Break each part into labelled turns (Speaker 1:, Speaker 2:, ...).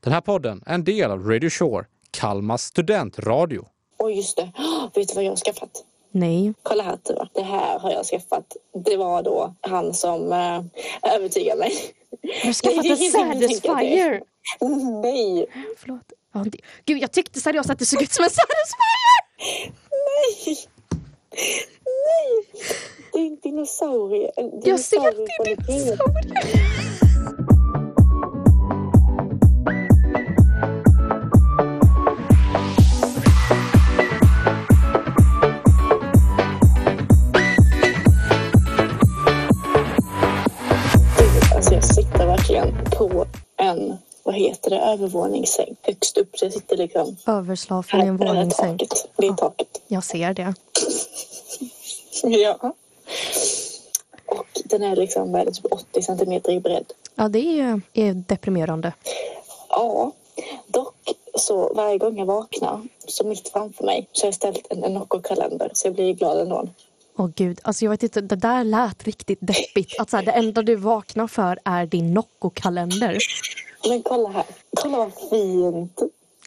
Speaker 1: Den här podden är en del av Radio Shore, Kalmas studentradio.
Speaker 2: Och just det, Åh, vet du vad jag har skaffat?
Speaker 3: Nej.
Speaker 2: Kolla här Tuva, det här har jag skaffat. Det var då han som eh, övertygade mig.
Speaker 3: Jag har skaffat
Speaker 2: det är
Speaker 3: en
Speaker 2: ingen som tänker
Speaker 3: satisfier.
Speaker 2: Nej,
Speaker 3: Förlåt. Ja, det- Gud, jag tyckte seriöst att det såg ut som en satisfier!
Speaker 2: nej, nej. Det är en dinosaurie. En
Speaker 3: Jag ser
Speaker 2: dinosaurie
Speaker 3: att
Speaker 2: på
Speaker 3: det är
Speaker 2: ditt finger.
Speaker 3: dinosaurier.
Speaker 2: Gud, Alltså jag sitter verkligen på en, vad heter det, övervåningssäng. Högst upp, så jag sitter liksom
Speaker 3: Överslafen i
Speaker 2: här
Speaker 3: en
Speaker 2: på det här
Speaker 3: våningssäng.
Speaker 2: taket. Det är
Speaker 3: Ja.
Speaker 2: taket.
Speaker 3: Jag ser det.
Speaker 2: Ja. Och den är liksom vad är det, typ 80 centimeter i bredd.
Speaker 3: Ja, det är, är deprimerande.
Speaker 2: Ja, dock så varje gång jag vaknar så mitt framför mig så har jag ställt en Enocco-kalender så jag blir glad ändå.
Speaker 3: Åh gud, alltså jag vet inte, det där lät riktigt deppigt. Att så här, det enda du vaknar för är din Nocco-kalender.
Speaker 2: Men kolla här, kolla vad typ. fint.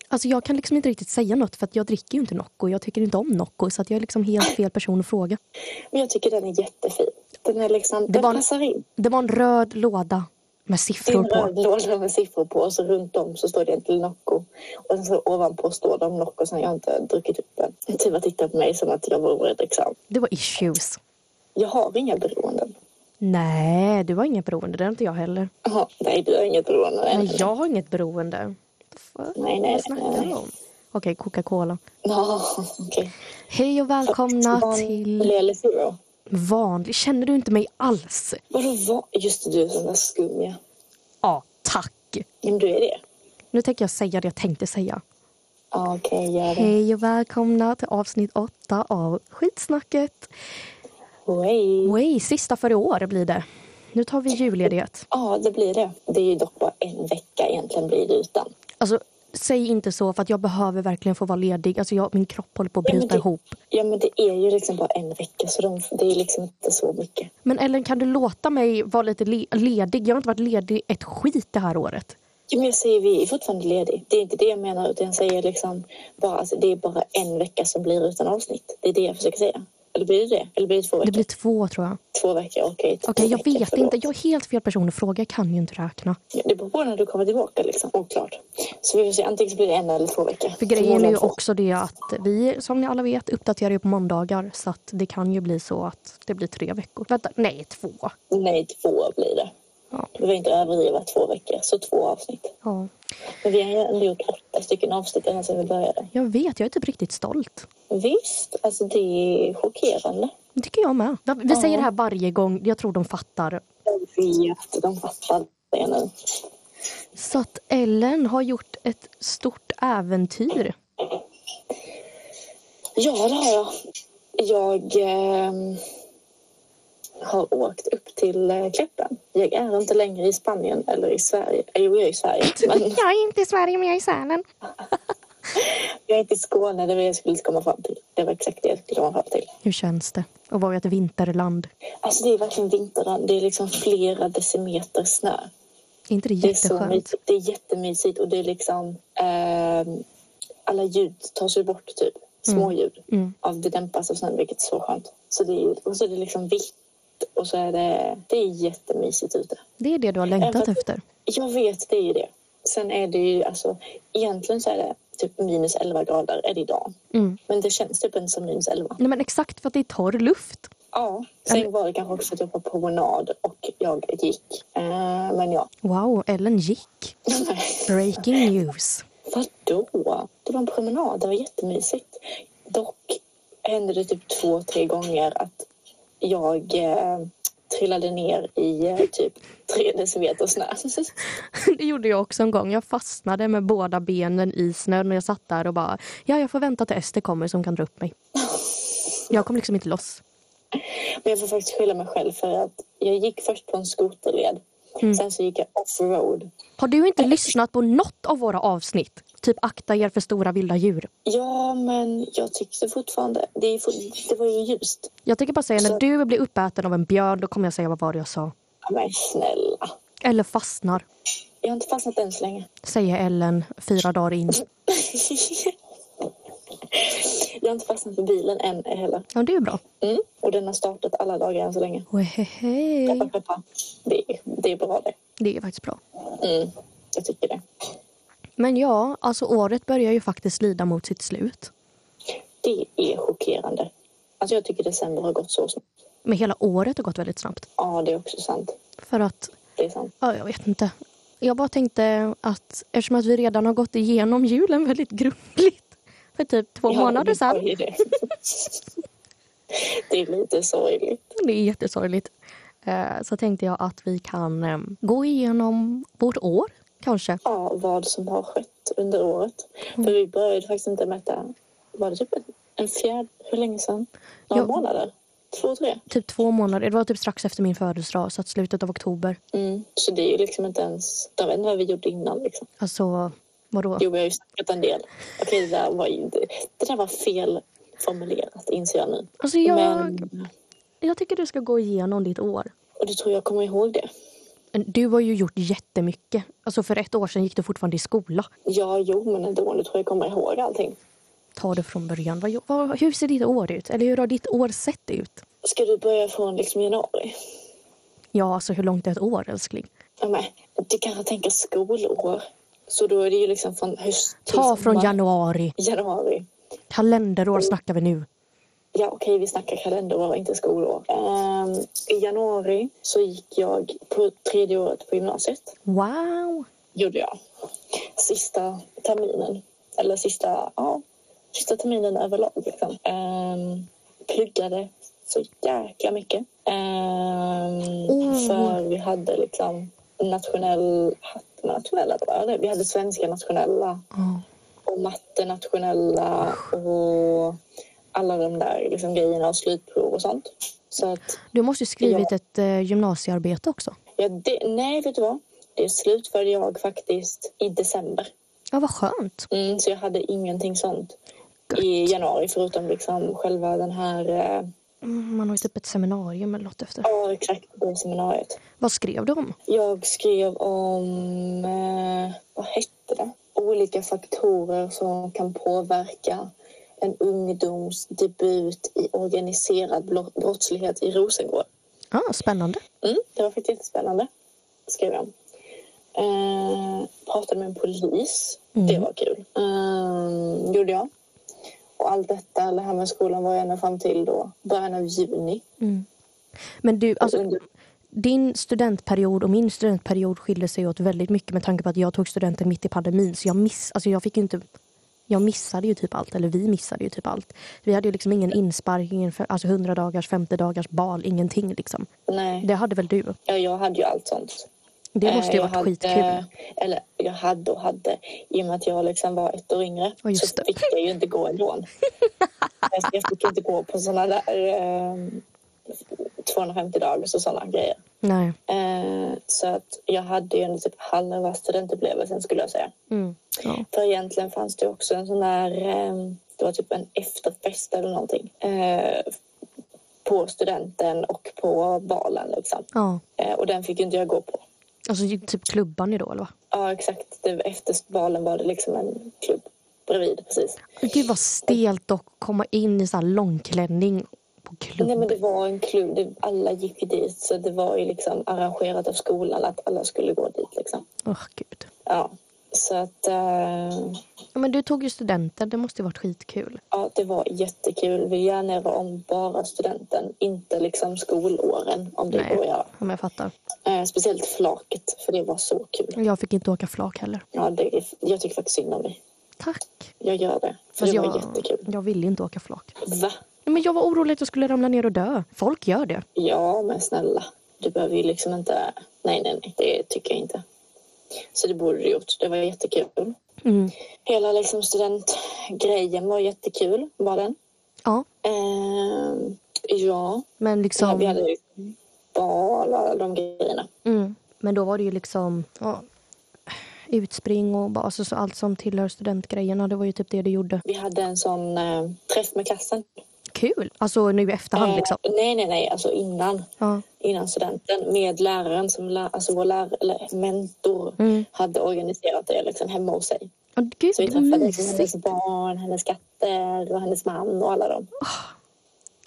Speaker 3: Alltså jag kan liksom inte riktigt säga något för att jag dricker ju inte Nocco. Jag tycker inte om Nocco så att jag är liksom helt fel person att fråga.
Speaker 2: Men jag tycker den är jättefin. Den är liksom, den
Speaker 3: var en
Speaker 2: passar in.
Speaker 3: Det var en röd låda med
Speaker 2: Det är
Speaker 3: siffror
Speaker 2: en
Speaker 3: på.
Speaker 2: röd låda med siffror på och så runt om så står det en till Nocco. Och så ovanpå står de Nocco som jag inte har druckit upp än. Tuva tittar på mig som att jag vore liksom.
Speaker 3: Det var issues.
Speaker 2: Jag har inga beroenden.
Speaker 3: Nej, du har inget beroende. Det har inte jag heller.
Speaker 2: Jaha, nej du har inget beroende.
Speaker 3: Nej, jag har inget beroende. Vad fan?
Speaker 2: Nej, nej,
Speaker 3: Vad snackar
Speaker 2: nej.
Speaker 3: du om? Okej, Coca-Cola.
Speaker 2: Ja, okej.
Speaker 3: Hej och välkomna till
Speaker 2: Vanlig eller zero?
Speaker 3: vanlig. Känner du inte mig alls?
Speaker 2: Vadå vad? Just det, du är sån där skum ja.
Speaker 3: Ja, tack.
Speaker 2: Ja, men du är det.
Speaker 3: Nu tänker jag säga det jag tänkte säga.
Speaker 2: Ja, okej, gör det.
Speaker 3: Hej och välkomna till avsnitt åtta av Skitsnacket.
Speaker 2: Hej.
Speaker 3: Way, sista för i år blir det. Nu tar vi julledighet.
Speaker 2: Ja, det blir det. Det är ju dock bara en vecka egentligen blir det utan.
Speaker 3: Alltså, säg inte så för att jag behöver verkligen få vara ledig. Alltså, jag, min kropp håller på att
Speaker 2: Ja, men
Speaker 3: bryta
Speaker 2: det-
Speaker 3: ihop.
Speaker 2: Ja, men det är ju liksom bara en vecka så de, det är liksom inte så mycket.
Speaker 3: Men Ellen, kan du låta mig vara lite le- ledig? Jag har inte varit ledig ett skit det här året.
Speaker 2: Ja, men jag säger vi är fortfarande ledig. Det är inte det jag menar utan jag säger liksom bara alltså, det är bara en vecka som blir utan avsnitt. Det är det jag försöker säga. Eller blir det det? Eller blir det två
Speaker 3: Det
Speaker 2: veckor?
Speaker 3: blir två tror jag.
Speaker 2: Två veckor, okej. två
Speaker 3: Okej, jag
Speaker 2: veckor,
Speaker 3: vet
Speaker 2: förlåt.
Speaker 3: inte. Jag är helt fel person att fråga. Jag kan ju inte räkna.
Speaker 2: Ja, Det beror på när du kommer tillbaka liksom. Oklart. Så vi får se. Antingen så blir det en eller två veckor.
Speaker 3: För grejen är
Speaker 2: Förmodligen
Speaker 3: ju
Speaker 2: två.
Speaker 3: också det att vi, som ni alla vet, uppdaterar ju på måndagar. Så att det kan ju bli så att det blir tre veckor. Vänta, nej, två.
Speaker 2: Nej, två blir det.
Speaker 3: Ja.
Speaker 2: Du behöver inte överdriva två veckor, så två avsnitt.
Speaker 3: ja.
Speaker 2: Men vi har ju ändå gjort åtta stycken avsnitt ända sedan vi började.
Speaker 3: Jag vet, jag är typ riktigt stolt.
Speaker 2: Visst, alltså det är chockerande.
Speaker 3: Det tycker jag med. Vi
Speaker 2: Ja.
Speaker 3: säger det här varje gång. Jag tror de fattar.
Speaker 2: Jag vet, de fattar det nu.
Speaker 3: Så att Ellen har gjort ett stort äventyr.
Speaker 2: Ja, det har jag. Jag ehm, har åkt upp till eh, Kläppen. Jag är inte längre i Spanien eller i Sverige. Jo, jag är i Sverige. Men
Speaker 3: Jag är inte i Sverige, men jag är i Sälen.
Speaker 2: jag är inte i Skåne, det var det jag skulle komma fram till. Det var exakt det jag skulle komma fram till.
Speaker 3: Hur känns det att vara i ett vinterland?
Speaker 2: Alltså det är verkligen vinterland. Det är liksom flera decimeter snö.
Speaker 3: Är inte det
Speaker 2: Det är, så
Speaker 3: jätteskönt?
Speaker 2: mysigt. det är jättemysigt och det är liksom... ehm, alla ljud tas ju bort, typ. Småljud.
Speaker 3: Mm.
Speaker 2: Av det dämpas av snön, vilket är så skönt. Så det är, och så är det liksom vitt och så är det... Det är jättemysigt ute.
Speaker 3: Det är det du har längtat efter.
Speaker 2: Jag vet, det är ju det. Sen är det ju alltså... Egentligen så är det typ minus 11 grader är det idag.
Speaker 3: Mm.
Speaker 2: Men det känns typ inte som minus 11.
Speaker 3: Nej, men exakt för att det är torr luft.
Speaker 2: Ja, sen var det kanske också att jag var på promenad och jag gick. Eh, men ja.
Speaker 3: Wow, Ellen gick. Breaking news.
Speaker 2: Vadå? Det var en promenad, det var jättemysigt. Dock hände det typ två, tre gånger att jag eh, trillade ner i eh, typ tre decimeter snö.
Speaker 3: Det gjorde jag också en gång. Jag fastnade med båda benen i snön och jag satt där och bara ja, jag får vänta till Ester kommer som kan dra upp mig. Jag kom liksom inte loss.
Speaker 2: Men jag får faktiskt skylla mig själv för att jag gick först på en skoterled. Sen så gick jag offroad.
Speaker 3: Har du inte lyssnat på något av våra avsnitt? Typ akta er för stora vilda djur.
Speaker 2: Ja, men jag tyckte fortfarande... Det, är fort- det var ju ljust.
Speaker 3: Jag tänker bara säga när
Speaker 2: Så-
Speaker 3: du blir uppäten av en björn då kommer jag säga vad var det jag sa.
Speaker 2: Ja, Men snälla.
Speaker 3: Eller fastnar,
Speaker 2: Jag har inte fastnat än så länge.
Speaker 3: säger Ellen fyra dagar in.
Speaker 2: jag har inte fastnat för bilen än heller.
Speaker 3: Ja, det är bra.
Speaker 2: Mm. Och den har startat alla dagar än så länge. Peppar,
Speaker 3: Hej.
Speaker 2: peppar. Det, det är bra det.
Speaker 3: Det är faktiskt bra.
Speaker 2: Mm. Jag tycker det.
Speaker 3: Men ja, alltså året börjar ju faktiskt lida mot sitt slut.
Speaker 2: Det är chockerande. Alltså jag tycker december har gått så snabbt.
Speaker 3: Men hela året har gått väldigt snabbt.
Speaker 2: Ja, det är också sant.
Speaker 3: För att,
Speaker 2: Det är sant.
Speaker 3: ja, jag vet inte. Jag bara tänkte att eftersom att vi redan har gått igenom julen väldigt grundligt för typ två
Speaker 2: Ja,
Speaker 3: månader
Speaker 2: det
Speaker 3: sedan.
Speaker 2: var ju Det. det är lite sorgligt.
Speaker 3: Det är jättesorgligt. Eh, Så tänkte jag att vi kan eh, gå igenom vårt år, kanske.
Speaker 2: Ja, vad som har skett under året. För vi började faktiskt inte mäta. Var det typ en- en fjärde? Hur länge sedan? Några
Speaker 3: Ja.
Speaker 2: månader? Två, tre?
Speaker 3: Typ två månader. Det var typ strax efter min födelsedag, så att slutet av oktober.
Speaker 2: Mm. Så det är ju liksom inte ens... Jag vet inte vad vi gjorde innan liksom.
Speaker 3: Alltså, vadå?
Speaker 2: Jo, vi har ju snackat en del. Okej, det där var, ju- det där var fel formulerat inser jag nu.
Speaker 3: Alltså jag,
Speaker 2: Men,
Speaker 3: jag tycker du ska gå igenom ditt år.
Speaker 2: och du tror jag kommer ihåg det?
Speaker 3: Du har ju gjort jättemycket. Alltså för ett år sedan gick du fortfarande i skola.
Speaker 2: Ja, jo, men ändå. Nu tror jag kommer ihåg allting.
Speaker 3: Ta det från början. Vad, vad, hur ser ditt år ut? Eller hur har ditt år sett ut?
Speaker 2: Ska du börja från liksom januari?
Speaker 3: Ja, alltså hur långt är ett år, älskling?
Speaker 2: Ja, men, du kanske tänker skolår. Så då är det ju liksom från höst till
Speaker 3: Ta från
Speaker 2: sommar.
Speaker 3: januari.
Speaker 2: januari.
Speaker 3: Kalenderår snackar vi nu.
Speaker 2: Ja, okej, vi snackar kalenderår, inte skolår. Ehm, I januari så gick jag på tredje året på gymnasiet.
Speaker 3: Wow!
Speaker 2: gjorde jag. Sista terminen, eller sista, ja, sista terminen överlag. Liksom. Ehm, pluggade så jäkla mycket. Ehm,
Speaker 3: Mm.
Speaker 2: För vi hade liksom nationell, nationella tror jag det. Vi hade svenska nationella
Speaker 3: Ja.
Speaker 2: och matte nationella och alla de där liksom, grejerna och slutprov och sånt. Så att,
Speaker 3: Du måste ju skrivit ett eh, gymnasiearbete också.
Speaker 2: ja, det, nej, vet du vad? Det slutförde jag faktiskt i december.
Speaker 3: Ja, vad skönt.
Speaker 2: Mm, så jag hade ingenting sånt
Speaker 3: Gött.
Speaker 2: i januari förutom liksom själva den här... eh,
Speaker 3: Mm, Man har ju typ ett seminarium eller något efter.
Speaker 2: Ja, exakt. Det seminariet.
Speaker 3: Vad skrev du om?
Speaker 2: Jag skrev om... Eh, vad hette det? Olika faktorer som kan påverka en ungdoms debut i organiserad blo- brottslighet i Rosengård.
Speaker 3: Ah, spännande.
Speaker 2: Mm, det var faktiskt jättespännande, skrev jag. Eh, pratade med en polis.
Speaker 3: Mm.
Speaker 2: Det var kul. Eh, gjorde jag. Och allt detta, det här med skolan, var jag ända fram till då början av juni.
Speaker 3: Mm. Men du, alltså,
Speaker 2: Under-
Speaker 3: din studentperiod och min studentperiod skiljer sig åt väldigt mycket med tanke på att jag tog studenten mitt i pandemin. Så jag, miss, alltså jag, fick ju inte, jag missade ju typ allt, eller vi missade ju typ allt. Vi hade ju liksom ingen inspark, ingen för, alltså 100 dagars, 50 dagars bal, ingenting liksom.
Speaker 2: Nej,
Speaker 3: Det hade väl du?
Speaker 2: ja, jag hade ju allt sånt.
Speaker 3: Det måste ju
Speaker 2: Eh,
Speaker 3: ha
Speaker 2: jag
Speaker 3: varit skitkul.
Speaker 2: Eller jag hade och hade. I och med att jag liksom var ett år yngre
Speaker 3: Ja, just
Speaker 2: så
Speaker 3: det.
Speaker 2: fick jag ju inte gå ändå. Alltså, jag fick inte gå på sådana där eh, 250 dagars och sådana grejer.
Speaker 3: Nej.
Speaker 2: Eh, så att jag hade ju en typ halva studentupplevelsen skulle jag säga.
Speaker 3: Mm. Ja.
Speaker 2: För egentligen fanns det också en sån där, eh, det var typ en efterfest eller någonting. Eh, på studenten och på balen liksom.
Speaker 3: ja.
Speaker 2: Eh, och den fick ju inte jag gå på.
Speaker 3: Alltså ju- typ klubban ju då, eller vad?
Speaker 2: Ja exakt, det, efter balen var det liksom en klubb bredvid precis.
Speaker 3: Gud vad stelt att komma in i så här långklänning på klubb.
Speaker 2: Nej men det var en klubb, det, alla gick ju dit så det var ju liksom arrangerat av skolan att alla skulle gå dit liksom.
Speaker 3: Åh, gud.
Speaker 2: Ja, så att eh,
Speaker 3: Ja, men du tog ju studenten, det måste ju varit skitkul.
Speaker 2: Ja, det var jättekul. Vi gärna om bara studenten, inte liksom skolåren om det
Speaker 3: Nej.
Speaker 2: går att göra.
Speaker 3: Om jag fattar.
Speaker 2: Eh, speciellt flaket, för det var så kul.
Speaker 3: Jag fick inte åka flak heller.
Speaker 2: Ja, det, jag tycker faktiskt synd om dig.
Speaker 3: Tack.
Speaker 2: Jag gör det. För
Speaker 3: Fast
Speaker 2: det var
Speaker 3: jag,
Speaker 2: jättekul.
Speaker 3: jag ville inte åka flak.
Speaker 2: Va?
Speaker 3: Nej, Men jag var orolig att jag skulle ramla ner och dö. Folk gör det.
Speaker 2: Ja, men snälla. Du behöver ju liksom inte... Nej, nej, nej. Det tycker jag inte. Så det borde du gjort. Det var jättekul.
Speaker 3: Mm.
Speaker 2: Hela liksom studentgrejen var jättekul, var den.
Speaker 3: Ja,
Speaker 2: Eh, ja,
Speaker 3: men
Speaker 2: vi
Speaker 3: liksom...
Speaker 2: hade liksom bal och alla de grejerna.
Speaker 3: Mm. Men då var det ju liksom... Ja, utspring och bara, alltså, så allt som tillhör studentgrejerna. Det var ju typ det du gjorde.
Speaker 2: Vi hade en sån eh, träff med klassen.
Speaker 3: kul. Alltså nu i efterhand
Speaker 2: Eh,
Speaker 3: liksom.
Speaker 2: Nej, nej, nej. Alltså innan,
Speaker 3: Ja.
Speaker 2: innan studenten med läraren som lär, alltså vår lärare, eller mentor
Speaker 3: Mm.
Speaker 2: hade organiserat det liksom hemma hos sig.
Speaker 3: Åh, gud
Speaker 2: Så vi
Speaker 3: vad
Speaker 2: träffade liksom hennes
Speaker 3: mysigt.
Speaker 2: barn, hennes katter och hennes man och alla dem.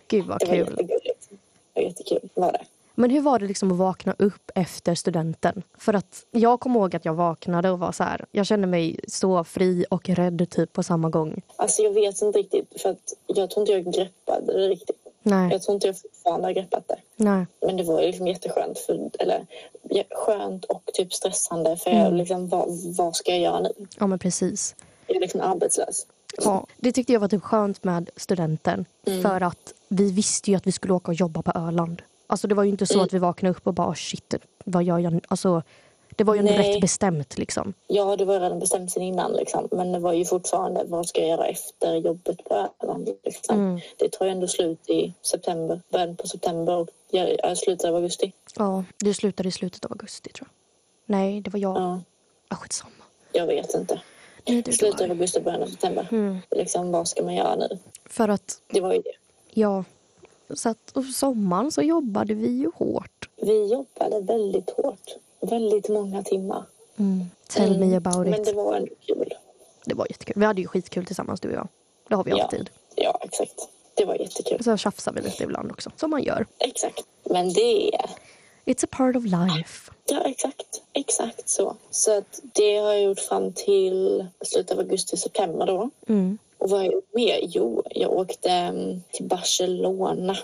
Speaker 3: Gud vad
Speaker 2: Det var
Speaker 3: kul.
Speaker 2: jättegulligt. Det var jättekul. Var det.
Speaker 3: Men hur var det liksom att vakna upp efter studenten? För att jag kommer ihåg att jag vaknade och var så här. Jag kände mig så fri och rädd typ på samma gång.
Speaker 2: Alltså jag vet inte riktigt för att jag tror inte jag greppade det riktigt.
Speaker 3: Nej,
Speaker 2: Jag tror inte jag fortfarande har greppat det.
Speaker 3: nej.
Speaker 2: Men det var ju liksom jätteskönt. För, eller ja, skönt och typ stressande. För
Speaker 3: Mm.
Speaker 2: jag liksom, vad, vad ska jag göra nu?
Speaker 3: Ja men precis.
Speaker 2: Jag är liksom arbetslös.
Speaker 3: Ja, det tyckte jag var typ skönt med studenten.
Speaker 2: Mm.
Speaker 3: För att vi visste ju att vi skulle åka och jobba på Öland. Alltså det var ju inte
Speaker 2: Mm.
Speaker 3: så att vi vaknade upp och bara "Ah, shit, vad gör jag nu? Alltså det var ju ändå
Speaker 2: Nej.
Speaker 3: rätt bestämt liksom.
Speaker 2: Ja, det var ju redan bestämt sen innan. Liksom. Men det var ju fortfarande, vad ska jag göra efter jobbet på Öland? Liksom.
Speaker 3: Mm.
Speaker 2: Det tar ju ändå slut i september, början på september och jag, jag slutar av augusti.
Speaker 3: Ja, det slutade i slutet av augusti tror jag. Nej, det var jag.
Speaker 2: Ja,
Speaker 3: Ah, skitsamma.
Speaker 2: jag vet inte.
Speaker 3: Nej, det
Speaker 2: Slutet av
Speaker 3: var.
Speaker 2: augusti, början av september.
Speaker 3: Mm.
Speaker 2: Liksom, vad ska man göra nu?
Speaker 3: För att,
Speaker 2: Det var ju det.
Speaker 3: ja. Så att och sommaren så jobbade vi ju hårt.
Speaker 2: Vi jobbade väldigt hårt. Väldigt många timmar.
Speaker 3: Mm. Tell me about
Speaker 2: Men
Speaker 3: it.
Speaker 2: det
Speaker 3: Det...
Speaker 2: var ändå kul.
Speaker 3: var jättekul. Vi hade ju skitkul tillsammans du och jag. Det har vi
Speaker 2: Ja.
Speaker 3: alltid.
Speaker 2: Ja, exakt. Det var jättekul.
Speaker 3: Så tjafsar vi lite ibland också. Som man gör.
Speaker 2: Exakt. Men det är...
Speaker 3: It's a part of life.
Speaker 2: Ja, exakt. Exakt så. Så att det har jag gjort fram till slutet av augusti, september då.
Speaker 3: Mm.
Speaker 2: Och vad har jag gjort mer? Jo, jag åkte mm, till Barcelona.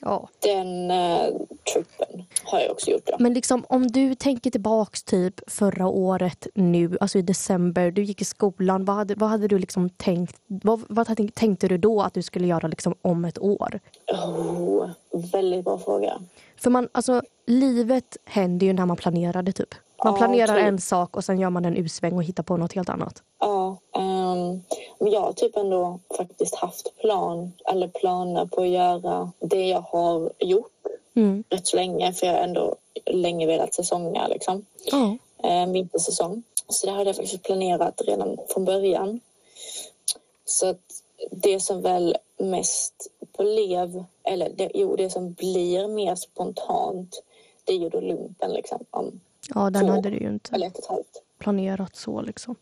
Speaker 3: Ja.
Speaker 2: Den eh, truppen har jag också gjort då.
Speaker 3: Men liksom om du tänker tillbaks typ förra året nu, alltså i december, du gick i skolan. Vad hade, vad hade du liksom tänkt? Vad, vad hade- tänkte du då att du skulle göra liksom om ett år?
Speaker 2: Oh, väldigt bra fråga.
Speaker 3: För man, alltså livet händer ju när man planerar det typ. Man
Speaker 2: Ja,
Speaker 3: planerar
Speaker 2: typ.
Speaker 3: en sak och sen gör man en usväng och hittar på något helt annat.
Speaker 2: Ja, ehm, men jag har typ ändå faktiskt haft plan eller planer på att göra det jag har gjort
Speaker 3: Mm.
Speaker 2: rätt så länge för jag har ändå länge velat säsonga liksom.
Speaker 3: Ja.
Speaker 2: Eh, vintersäsong. Så det hade jag faktiskt planerat redan från början. Så att det som väl mest blev, eller det, jo, det som blir mer spontant det är ju då lumpen liksom om,
Speaker 3: Ja, den
Speaker 2: Så.
Speaker 3: hade du ju inte
Speaker 2: eller ett och ett halvt.
Speaker 3: planerat så liksom.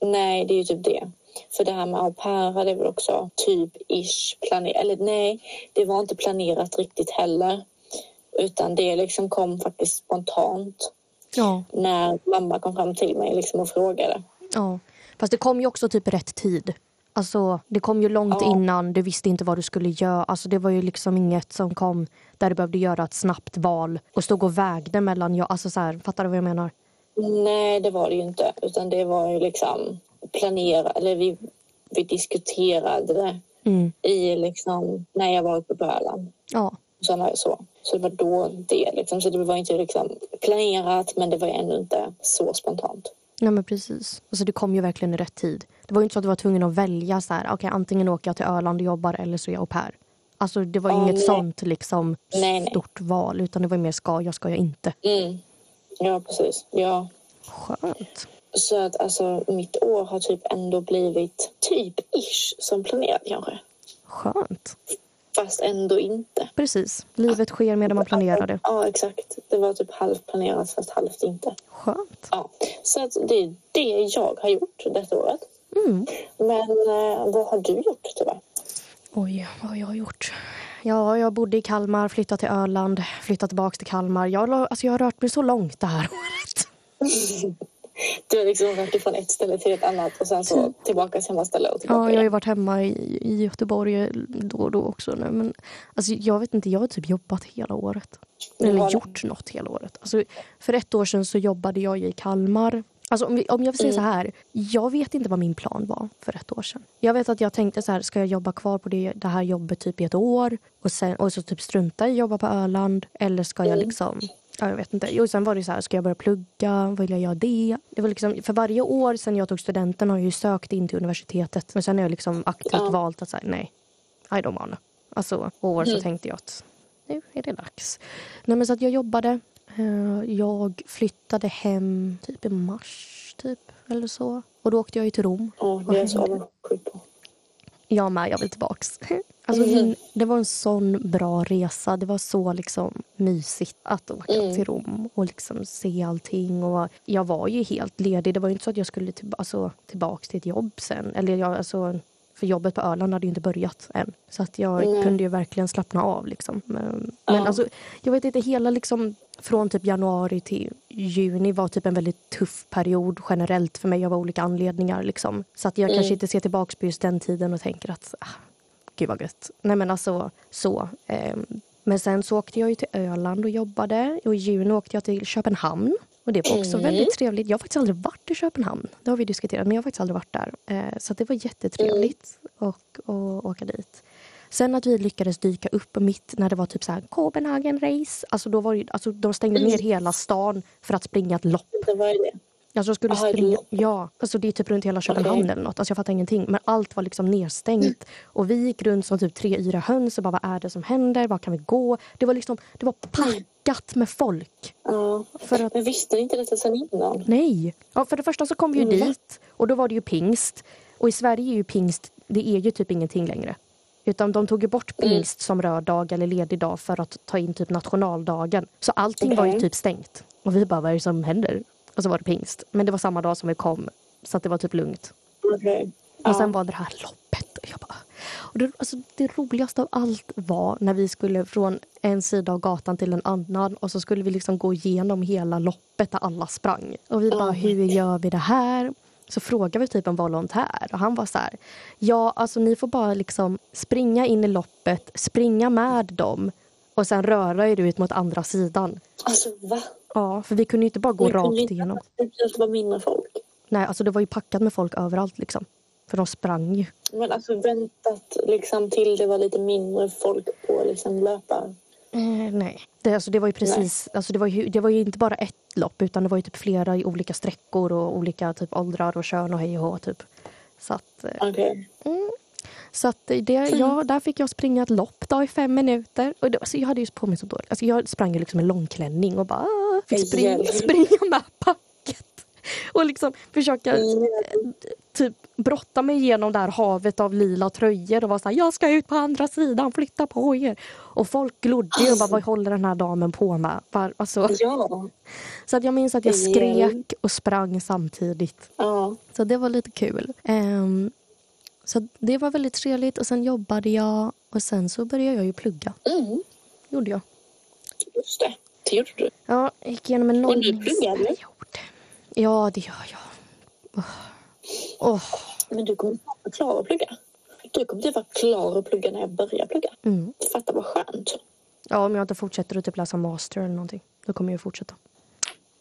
Speaker 2: Nej, det är ju typ det. För det här med au pair hade jag väl också typ ish planerat. Eller nej, det var inte planerat riktigt heller. Utan det liksom kom faktiskt spontant
Speaker 3: Ja.
Speaker 2: när mamma kom fram till mig liksom och frågade.
Speaker 3: Ja. Fast det kom ju också typ rätt tid. Alltså, det kom ju långt
Speaker 2: Ja.
Speaker 3: innan, du visste inte vad du skulle göra. Alltså, det var ju liksom inget som kom där du behövde göra ett snabbt val och stod och vägde mellan... Ja, alltså, så här, fattar du vad jag menar?
Speaker 2: Nej, det var det ju inte. Utan det var ju liksom planerat. Eller vi, vi diskuterade det
Speaker 3: Mm.
Speaker 2: i liksom när jag var uppe på Öland.
Speaker 3: Ja.
Speaker 2: Och sen har jag så. Så det var då det liksom. Så det var inte liksom planerat men det var ändå inte så spontant.
Speaker 3: Nej, men precis. Alltså, det kom ju verkligen i rätt tid. Det var ju inte så att du var tvungen att välja. så här, okay, Antingen åker jag till Öland och jobbar eller så är jag au pair. Alltså, det var ju
Speaker 2: Ja,
Speaker 3: inget
Speaker 2: nej.
Speaker 3: sånt liksom,
Speaker 2: Nej, nej.
Speaker 3: stort val. Utan det var ju mer ska jag, ska jag inte.
Speaker 2: Mm. Ja, precis. Ja.
Speaker 3: Skönt.
Speaker 2: Så att alltså, mitt år har typ ändå blivit typ ish som planerat kanske.
Speaker 3: Skönt.
Speaker 2: Fast ändå inte.
Speaker 3: Precis. Livet sker medan man planerar det.
Speaker 2: Ja, exakt. Det var typ halvt planerat fast halvt inte.
Speaker 3: Skönt.
Speaker 2: Ja. Så att det är det jag har gjort detta året.
Speaker 3: Mm.
Speaker 2: Men eh, vad har du gjort tyvärr?
Speaker 3: Oj, vad har jag gjort? Ja, jag bodde i Kalmar, flyttade till Öland, flyttade tillbaka till Kalmar. Jag, la- alltså, jag har rört mig så långt det här året.
Speaker 2: Du har liksom varit från ett ställe till ett annat och sen så tillbaka till samma ställe och tillbaka
Speaker 3: Mm. Ja, jag har ju
Speaker 2: igen.
Speaker 3: varit hemma i, i Göteborg då och då också nu. Men alltså, jag vet inte, jag har typ jobbat hela året.
Speaker 2: Du
Speaker 3: Eller
Speaker 2: har det.
Speaker 3: gjort något hela året. Alltså, för ett år sedan så jobbade jag i Kalmar. Alltså, om, vi- om jag säger
Speaker 2: Mm.
Speaker 3: så här, jag vet inte vad min plan var för ett år sedan. Jag vet att jag tänkte så här, ska jag jobba kvar på det, det här jobbet typ i ett år och, sen, och så typ strunta i att jobba på Öland? Eller ska jag
Speaker 2: Mm.
Speaker 3: liksom... Ja, jag vet inte. Jo, sen var det så här, ska jag börja plugga? Vill jag göra det? det var liksom, för varje år sedan jag tog studenten har jag ju sökt in till universitetet. Men sen har jag liksom aktivt
Speaker 2: Ja.
Speaker 3: valt att säga nej, I don't wanna. Alltså, och år så
Speaker 2: Mm.
Speaker 3: tänkte jag att nu är det dags. Nej, men så att jag jobbade. Eh, Jag flyttade hem typ i mars, typ. Eller så. Och då åkte jag ju till Rom.
Speaker 2: Ja, det är jag så avundsjuk på.
Speaker 3: Jag med, jag vill tillbaks. Alltså,
Speaker 2: Mhm.
Speaker 3: min- Det var en sån bra resa. Det var så liksom mysigt att åka
Speaker 2: Mm.
Speaker 3: till Rom och liksom se allting. Och jag var ju helt ledig. Det var ju inte så att jag skulle till, alltså, tillbaka till ett jobb sen. Eller jag, alltså, för jobbet på Öland hade ju inte börjat än. Så att jag
Speaker 2: Nej.
Speaker 3: kunde ju verkligen slappna av. Liksom. Men, men
Speaker 2: Ja.
Speaker 3: alltså, jag vet inte, hela liksom, från typ januari till juni var typ en väldigt tuff period generellt för mig av olika anledningar. Liksom. Så att jag
Speaker 2: Mm.
Speaker 3: kanske inte ser tillbaka på just den tiden och tänker att ah, gud vad gött. Nej men alltså så. ehm. men sen så åkte jag ju till Öland och jobbade och i juni åkte jag till Köpenhamn. Och det var också väldigt trevligt. Jag har faktiskt aldrig varit i Köpenhamn. Det har vi diskuterat men jag har faktiskt aldrig varit där. Eh, så att det var jättetrevligt att att åka dit. Sen att vi lyckades dyka upp mitt när det var typ så här Copenhagen-race. Alltså då var ju, alltså de stängde ner hela stan för att springa ett lopp.
Speaker 2: Det var ju det.
Speaker 3: Alltså jag skulle
Speaker 2: Aha,
Speaker 3: springa,
Speaker 2: loppet.
Speaker 3: ja, alltså det är typ runt hela Köpenhamn
Speaker 2: Okej. Mm.
Speaker 3: eller något. Alltså jag fattar ingenting. Men allt var liksom nedstängt. Och vi gick runt som typ tre, fyra höns och bara vad är det som händer? Var kan vi gå? Det var liksom, det var packat med folk.
Speaker 2: Ja.
Speaker 3: För att,
Speaker 2: Men visste ni inte detta sen innan?
Speaker 3: nej. Ja, för det första så kom vi ju
Speaker 2: Mm.
Speaker 3: dit och då var det ju pingst. Och i Sverige är ju pingst, det är ju typ ingenting längre. Utan de tog ju bort
Speaker 2: Mm.
Speaker 3: pingst som röd dag eller ledig dag för att ta in typ nationaldagen. Så allting var ju
Speaker 2: Okej.
Speaker 3: typ stängt. Och vi bara, vad är det som händer? Och så var det pingst. Men det var samma dag som vi kom. Så att det var typ lugnt.
Speaker 2: Okej.
Speaker 3: Och sen var det här loppet. Och jag bara, och det, alltså, det roligaste av allt var när vi skulle från en sida av gatan till en annan och så skulle vi liksom gå igenom hela loppet där alla sprang. Och vi bara,
Speaker 2: Oh.
Speaker 3: hur gör vi det här? Så frågade vi typ en volontär och han var så här, ja alltså ni får bara liksom springa in i loppet, springa med dem och sen röra er ut mot andra sidan.
Speaker 2: Alltså va?
Speaker 3: Ja, för vi kunde ju inte bara gå
Speaker 2: Ni kunde
Speaker 3: rakt
Speaker 2: inte-
Speaker 3: igenom.
Speaker 2: Det var mindre folk.
Speaker 3: Nej, alltså det var ju packat med folk överallt liksom. För de sprang ju.
Speaker 2: Men alltså väntat liksom till det var lite mindre folk på liksom löpar.
Speaker 3: Eh, nej. Det, alltså, det var ju precis, alltså, det, var ju, det var ju inte bara ett lopp utan det var ju typ flera i olika sträckor och olika typ åldrar och kön och hej och hå, typ. Så att, eh,
Speaker 2: Okej.
Speaker 3: så att det, ja, där fick jag springa ett lopp då i fem minuter. Och det, alltså, jag hade ju på mig så dåligt. Alltså, jag sprang ju liksom i långklänning och bara ah, fick springa,
Speaker 2: Hjälp.
Speaker 3: springa med packet. Och liksom försöka
Speaker 2: Mm.
Speaker 3: typ brotta mig igenom det här havet av lila tröjor och var så här, jag ska ut på andra sidan, flytta på er. Och folk glodde ju och bara, vad håller den här damen på med? Var, alltså,
Speaker 2: Ja.
Speaker 3: så att jag minns att jag skrek och sprang samtidigt.
Speaker 2: Ja.
Speaker 3: Så det var lite kul. Ehm, så det var väldigt trevligt och sen jobbade jag och sen så började jag ju plugga.
Speaker 2: Mm.
Speaker 3: Gjorde jag.
Speaker 2: Just det. Det gjorde du.
Speaker 3: Ja, jag gick igenom en
Speaker 2: Och du pluggar, eller?
Speaker 3: nollningsperiod. Ja, det gör jag. Åh. Åh.
Speaker 2: Men du kommer inte vara klar att plugga. Du kommer inte vara klar att plugga när jag börjar plugga.
Speaker 3: Mm.
Speaker 2: Fatta vad skönt.
Speaker 3: Ja, om jag inte fortsätter att typ läsa master eller någonting, då kommer jag ju fortsätta.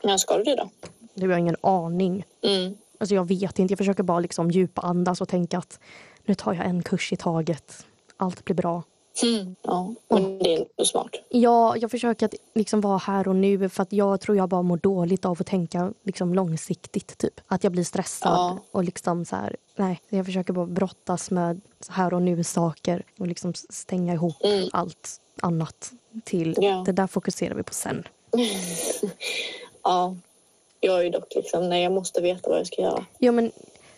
Speaker 2: När ska du det då?
Speaker 3: Det har jag ingen aning.
Speaker 2: Mm.
Speaker 3: Alltså jag vet inte, jag försöker bara liksom djupandas och tänka att nu tar jag en kurs i taget. Allt blir bra.
Speaker 2: Mm. Ja, men det är inte smart.
Speaker 3: Ja, jag försöker att liksom vara här och nu för att jag tror jag bara mår dåligt av att tänka liksom långsiktigt. Typ. Att jag blir stressad
Speaker 2: Ja.
Speaker 3: och liksom så här, nej. Så Jag försöker bara brottas med så här och nu-saker och liksom s- stänga ihop
Speaker 2: Mm.
Speaker 3: allt annat till
Speaker 2: Ja.
Speaker 3: det där fokuserar vi på sen.
Speaker 2: Ja. Jag är ju dock liksom, nej jag måste veta vad jag ska göra.
Speaker 3: Ja, men,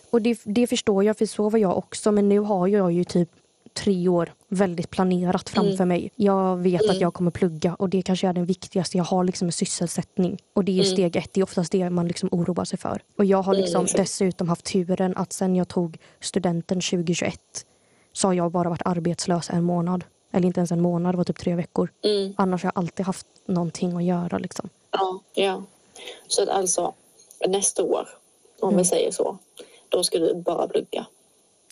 Speaker 3: och det, det förstår jag, för så var jag också. Men nu har jag ju typ tre år väldigt planerat framför mig. Jag vet att jag kommer plugga och det kanske är den viktigaste. Jag har liksom en sysselsättning och det är steg ett. Det är oftast det man liksom oroar sig för. Och jag har liksom dessutom haft turen att sen jag tog studenten 2021 så har jag bara varit arbetslös en månad. Eller inte ens en månad, det var typ tre veckor.
Speaker 2: Mm.
Speaker 3: Annars har jag alltid haft någonting att göra. Liksom.
Speaker 2: Ja. ja. Så att alltså, nästa år, om vi säger så, då ska du bara plugga.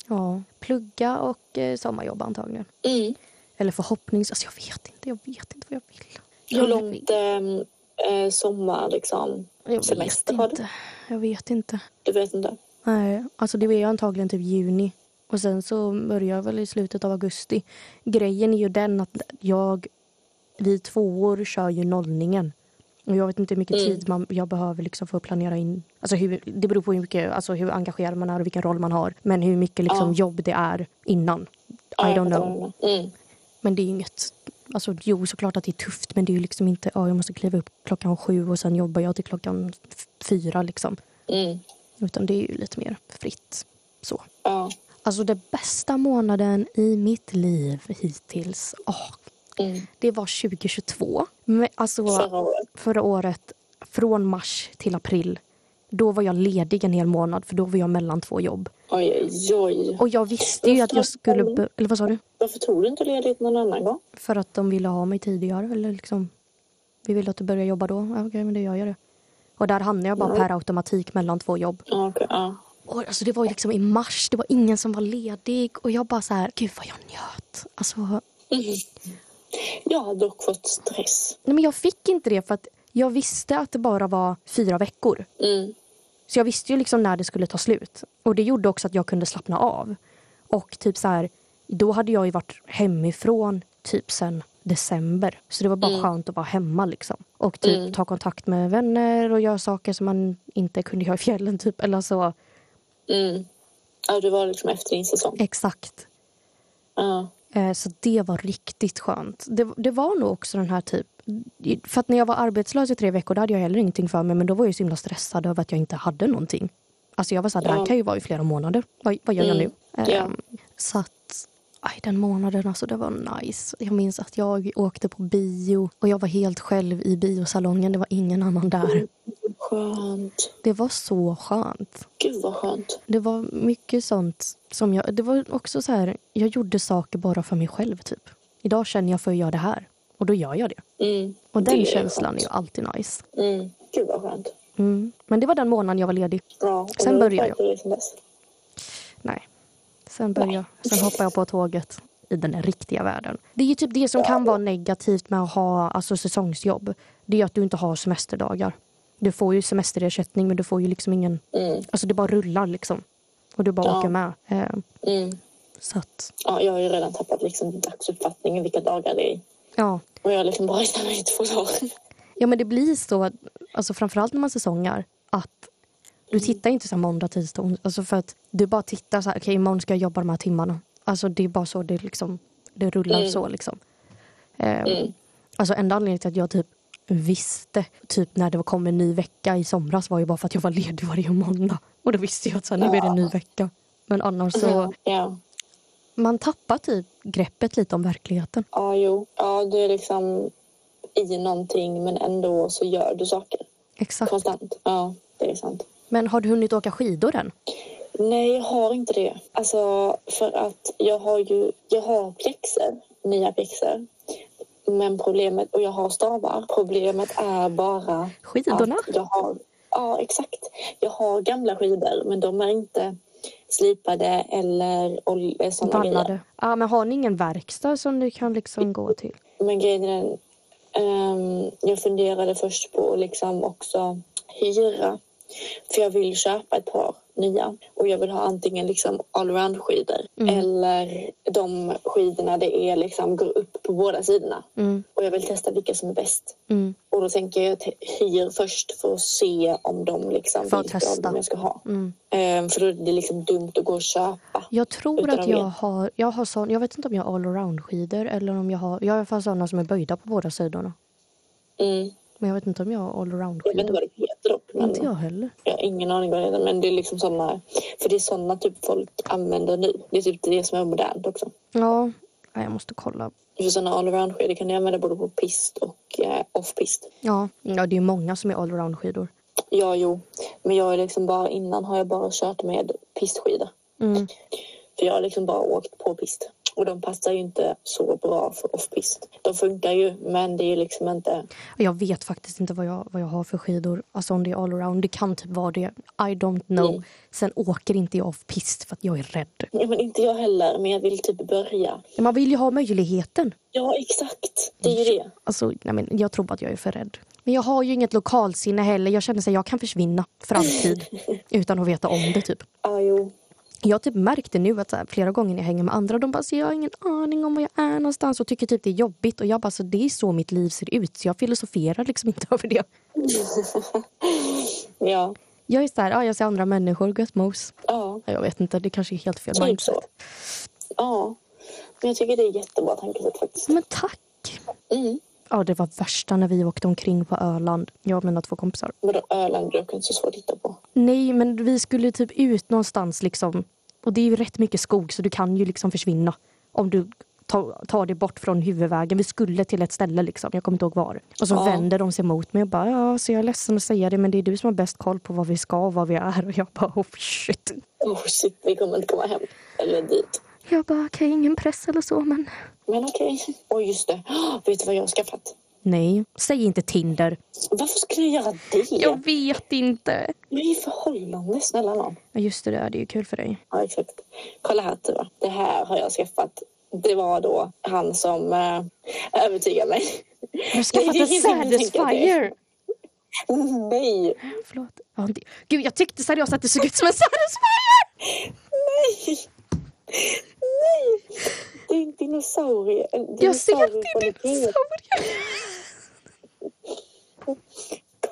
Speaker 3: Ja, plugga och eh, sommarjobba antagligen.
Speaker 2: Mm.
Speaker 3: Eller förhoppnings... Alltså jag vet inte, jag vet inte vad jag vill.
Speaker 2: Hur
Speaker 3: Jag
Speaker 2: långt ehm, eh, sommar, liksom?
Speaker 3: vet, jag vet
Speaker 2: semester har du?
Speaker 3: inte. Jag vet inte.
Speaker 2: Du vet inte?
Speaker 3: Nej, alltså det är ju antagligen typ juni. Och sen så börjar jag väl i slutet av augusti. Grejen är ju den att jag... Vi tvåor kör ju nollningen. Och jag vet inte hur mycket
Speaker 2: Mm.
Speaker 3: tid man, jag behöver liksom för att planera in. Alltså hur, det beror på hur, mycket, alltså hur engagerad man är och vilken roll man har. Men hur mycket liksom
Speaker 2: Ja.
Speaker 3: jobb det är innan.
Speaker 2: Ja,
Speaker 3: I
Speaker 2: jag
Speaker 3: don't
Speaker 2: fattar
Speaker 3: know.
Speaker 2: vad du menar. Mm.
Speaker 3: Men det är ju inget... Alltså, jo, såklart att det är tufft, men det är ju liksom inte... Ja, jag måste kliva upp klockan sju och sen jobbar jag till klockan f- fyra. Liksom.
Speaker 2: Mm.
Speaker 3: Utan det är ju lite mer fritt. Så.
Speaker 2: Ja.
Speaker 3: Alltså den bästa månaden i mitt liv hittills. Åh,
Speaker 2: Mm.
Speaker 3: det var 2022. Men, alltså,
Speaker 2: Förra året.
Speaker 3: förra året, från mars till april. Då var jag ledig en hel månad för då var jag mellan två jobb.
Speaker 2: Oj, oj, oj.
Speaker 3: Och jag visste ju att jag skulle... be- Eller vad sa du?
Speaker 2: Varför tog du inte ledigt någon annan gång?
Speaker 3: För att de ville ha mig tidigare. Eller liksom, vi ville att du började jobba då. Ja, Okej, men det gör jag det. Och där hamnade jag bara per automatik mellan två jobb.
Speaker 2: Ja, okej, ja.
Speaker 3: Och alltså det var ju liksom i mars, det var ingen som var ledig. Och jag bara så här, gud vad jag njöt. Alltså,
Speaker 2: Jag har dock fått stress.
Speaker 3: nej men jag fick inte det för att jag visste att det bara var fyra veckor.
Speaker 2: Mm.
Speaker 3: Så jag visste ju liksom när det skulle ta slut. Och det gjorde också att jag kunde slappna av. Och typ så här, då hade jag ju varit hemifrån typ sen december. Så det var bara skönt att vara hemma liksom. Och typ ta kontakt med vänner och göra saker som man inte kunde göra i fjällen typ. Eller så,
Speaker 2: Mm. Ja, det var liksom efter din säsong.
Speaker 3: exakt.
Speaker 2: Ja.
Speaker 3: Eh, Så det var riktigt skönt. Det, det var nog också den här typ... För att när jag var arbetslös i tre veckor då hade jag heller ingenting för mig men då var jag ju så himla stressad över att jag inte hade någonting. Alltså jag var så här, det här
Speaker 2: Ja.
Speaker 3: kan ju vara i flera månader. Vad, vad gör jag nu?
Speaker 2: Mm. Ja.
Speaker 3: Ehm, Så att, aj, den månaden alltså det var nice. Jag minns att jag åkte på bio och jag var helt själv i biosalongen. Det var ingen annan
Speaker 2: Mm.
Speaker 3: där.
Speaker 2: Skönt.
Speaker 3: Det var så skönt.
Speaker 2: Gud vad skönt.
Speaker 3: Det var mycket sånt som jag... Det var också så här, jag gjorde saker bara för mig själv typ. Idag känner jag för att göra det här och då gör jag det.
Speaker 2: Mm.
Speaker 3: Och den
Speaker 2: Det är
Speaker 3: känslan är ju
Speaker 2: skönt.
Speaker 3: alltid nice.
Speaker 2: Mm. Gud vad skönt.
Speaker 3: Mm. Men det var den månaden jag var ledig.
Speaker 2: Ja, och
Speaker 3: Sen
Speaker 2: då
Speaker 3: börjar jag.
Speaker 2: har du liksom dess.
Speaker 3: Nej. Sen började jag. Sen hoppade jag på tåget i den riktiga världen. Det är ju typ det som kan vara negativt med att ha alltså, säsongsjobb. Det är ju att du inte har semesterdagar. Du får ju semesterersättning men du får ju liksom ingen...
Speaker 2: Mm.
Speaker 3: Alltså det bara rullar liksom. Och du bara
Speaker 2: Ja.
Speaker 3: åker med. Eh,
Speaker 2: Mm.
Speaker 3: så att,
Speaker 2: Ja, jag har ju redan tappat liksom dagsuppfattningen vilka dagar det är.
Speaker 3: ja.
Speaker 2: Och jag har liksom bara räknat mig i två dagar.
Speaker 3: Ja men det blir så, att- alltså framförallt när man säsongar, att du tittar inte så här måndag, tisdag, ons- alltså för att du bara tittar så här, okej imorgon ska jag jobba de här timmarna. Alltså det är bara så det liksom, det rullar så liksom. Eh, Alltså enda anledningen till att jag typ visste, typ när det kom en ny vecka i somras var ju bara för att jag var ledig varje måndag. Och då visste jag att så här, nu blir det en ny vecka. Men annars så,
Speaker 2: Mm. Ja.
Speaker 3: man tappar typ greppet lite om verkligheten.
Speaker 2: ja, jo. Ja, du är liksom i någonting men ändå så gör du saker.
Speaker 3: Exakt.
Speaker 2: Konstant. Ja, det är sant.
Speaker 3: Men har du hunnit åka skidor än?
Speaker 2: Nej, jag har inte det. Alltså, för att jag har ju jag har pjäxor, nya pjäxor. Men problemet, och jag har stavar. Problemet är bara
Speaker 3: Skidorna?
Speaker 2: att jag har, ja exakt. Jag har gamla skidor, men de är inte slipade eller ol- sådana grejer.
Speaker 3: Ballade. Ja, men har ni ingen verkstad som du kan liksom gå till?
Speaker 2: Men grejen är den, ehm, jag funderade först på att liksom också hyra. För jag vill köpa ett par nya. Och jag vill ha antingen liksom allround-skidor
Speaker 3: Mm.
Speaker 2: eller de skidorna det är liksom går upp på båda sidorna.
Speaker 3: Mm,
Speaker 2: Och jag vill testa vilka som är bäst.
Speaker 3: mm,
Speaker 2: Och då tänker jag att hyr först för att se om de liksom
Speaker 3: För att
Speaker 2: vilka
Speaker 3: testa.
Speaker 2: av dem jag ska ha.
Speaker 3: mm.
Speaker 2: Ehm, för då är det liksom dumt att gå och köpa.
Speaker 3: Jag tror
Speaker 2: Utan
Speaker 3: att
Speaker 2: de
Speaker 3: jag
Speaker 2: vet.
Speaker 3: har, jag har sån, jag vet inte om jag har allround skidor eller om jag har, jag har i alla fall sådana som är böjda på båda sidorna.
Speaker 2: Mm.
Speaker 3: Men jag vet inte om jag har allround
Speaker 2: Jag vet inte
Speaker 3: skidor.
Speaker 2: vad det heter dock. Men...
Speaker 3: Mm. Inte jag heller.
Speaker 2: Jag har ingen aning vad det heter, men det är liksom sådana. För det är sådana typ folk använder nu. Det är typ det som är modernt också.
Speaker 3: Ja, nej, jag måste kolla.
Speaker 2: För sådana allround-skidor kan du använda både på pist och eh, off-pist.
Speaker 3: Ja, ja det är många som är allround skidor.
Speaker 2: Ja, jo. Men jag är liksom bara, innan har jag bara kört med pistskidor.
Speaker 3: Mm.
Speaker 2: För jag har liksom bara åkt på pist. Och de passar ju inte så bra för off-pist. De funkar ju, men det är ju liksom inte...
Speaker 3: Jag vet faktiskt inte vad jag, vad jag har för skidor. Alltså om det är allround, det kan typ vara det. I don't know.
Speaker 2: Mm.
Speaker 3: Sen åker inte jag av pist för att jag är rädd.
Speaker 2: Ja, men inte jag heller, men jag vill typ börja.
Speaker 3: Man vill ju ha möjligheten.
Speaker 2: Ja, exakt. Det är ju det.
Speaker 3: Alltså, nej men, jag tror bara att jag är för rädd. Men jag har ju inget lokalsinne heller. Jag känner att jag kan försvinna för alltid utan att veta om det. typ.
Speaker 2: Ja, jo.
Speaker 3: Jag har typ märkt det nu att så här, flera gånger när jag hänger med andra de bara så jag har ingen aning om var jag är någonstans och tycker typ det är jobbigt. Och jag bara så det är så mitt liv ser ut så jag filosoferar liksom inte över det.
Speaker 2: Ja.
Speaker 3: Jag är så här, ah, jag ser andra människor, gött mos.
Speaker 2: Ja.
Speaker 3: Ja, Jag vet inte, det kanske är helt fel
Speaker 2: Typ
Speaker 3: mindset.
Speaker 2: så. Ja. Men jag tycker det är jättebra tankesätt faktiskt.
Speaker 3: Men tack!
Speaker 2: Mm.
Speaker 3: Ja, det var värsta när vi åkte omkring på Öland, jag och mina två kompisar.
Speaker 2: Vadå Öland är inte så svårt att hitta på?
Speaker 3: Nej, men vi skulle typ ut någonstans liksom. Och det är ju rätt mycket skog så du kan ju liksom försvinna om du tar, tar dig bort från huvudvägen. Vi skulle till ett ställe liksom, jag kommer inte ihåg var. Och så
Speaker 2: Ja.
Speaker 3: vänder de sig mot mig och bara, ja så jag är ledsen att säga det men det är du som har bäst koll på vad vi ska och vad vi är. Och jag bara, oh shit.
Speaker 2: Oh shit, vi kommer inte komma hem. Eller dit.
Speaker 3: Jag bara, okej ingen press eller så men.
Speaker 2: Men okej. Oj, just det. Oh, vet du vad jag har skaffat?
Speaker 3: Nej, säg inte Tinder.
Speaker 2: Varför skulle jag göra det? Jag,
Speaker 3: Jag vet inte.
Speaker 2: är i förhållande, snälla nån.
Speaker 3: Ja just det, där, det är ju kul för dig.
Speaker 2: Ja, exakt. Kolla här Tua. Det här har jag skaffat. Det var då han som eh, övertygade mig.
Speaker 3: Jag har skaffat
Speaker 2: det är
Speaker 3: en
Speaker 2: ingen som tänker
Speaker 3: satisfier.
Speaker 2: Nej,
Speaker 3: Förlåt. Ja, det, gud, jag tyckte seriöst att det såg ut som en satisfier!
Speaker 2: nej, nej. Det är en dinosaurie. En
Speaker 3: Jag ser att
Speaker 2: dinosaurie
Speaker 3: det
Speaker 2: på
Speaker 3: är en
Speaker 2: en hel-
Speaker 3: dinosaurie.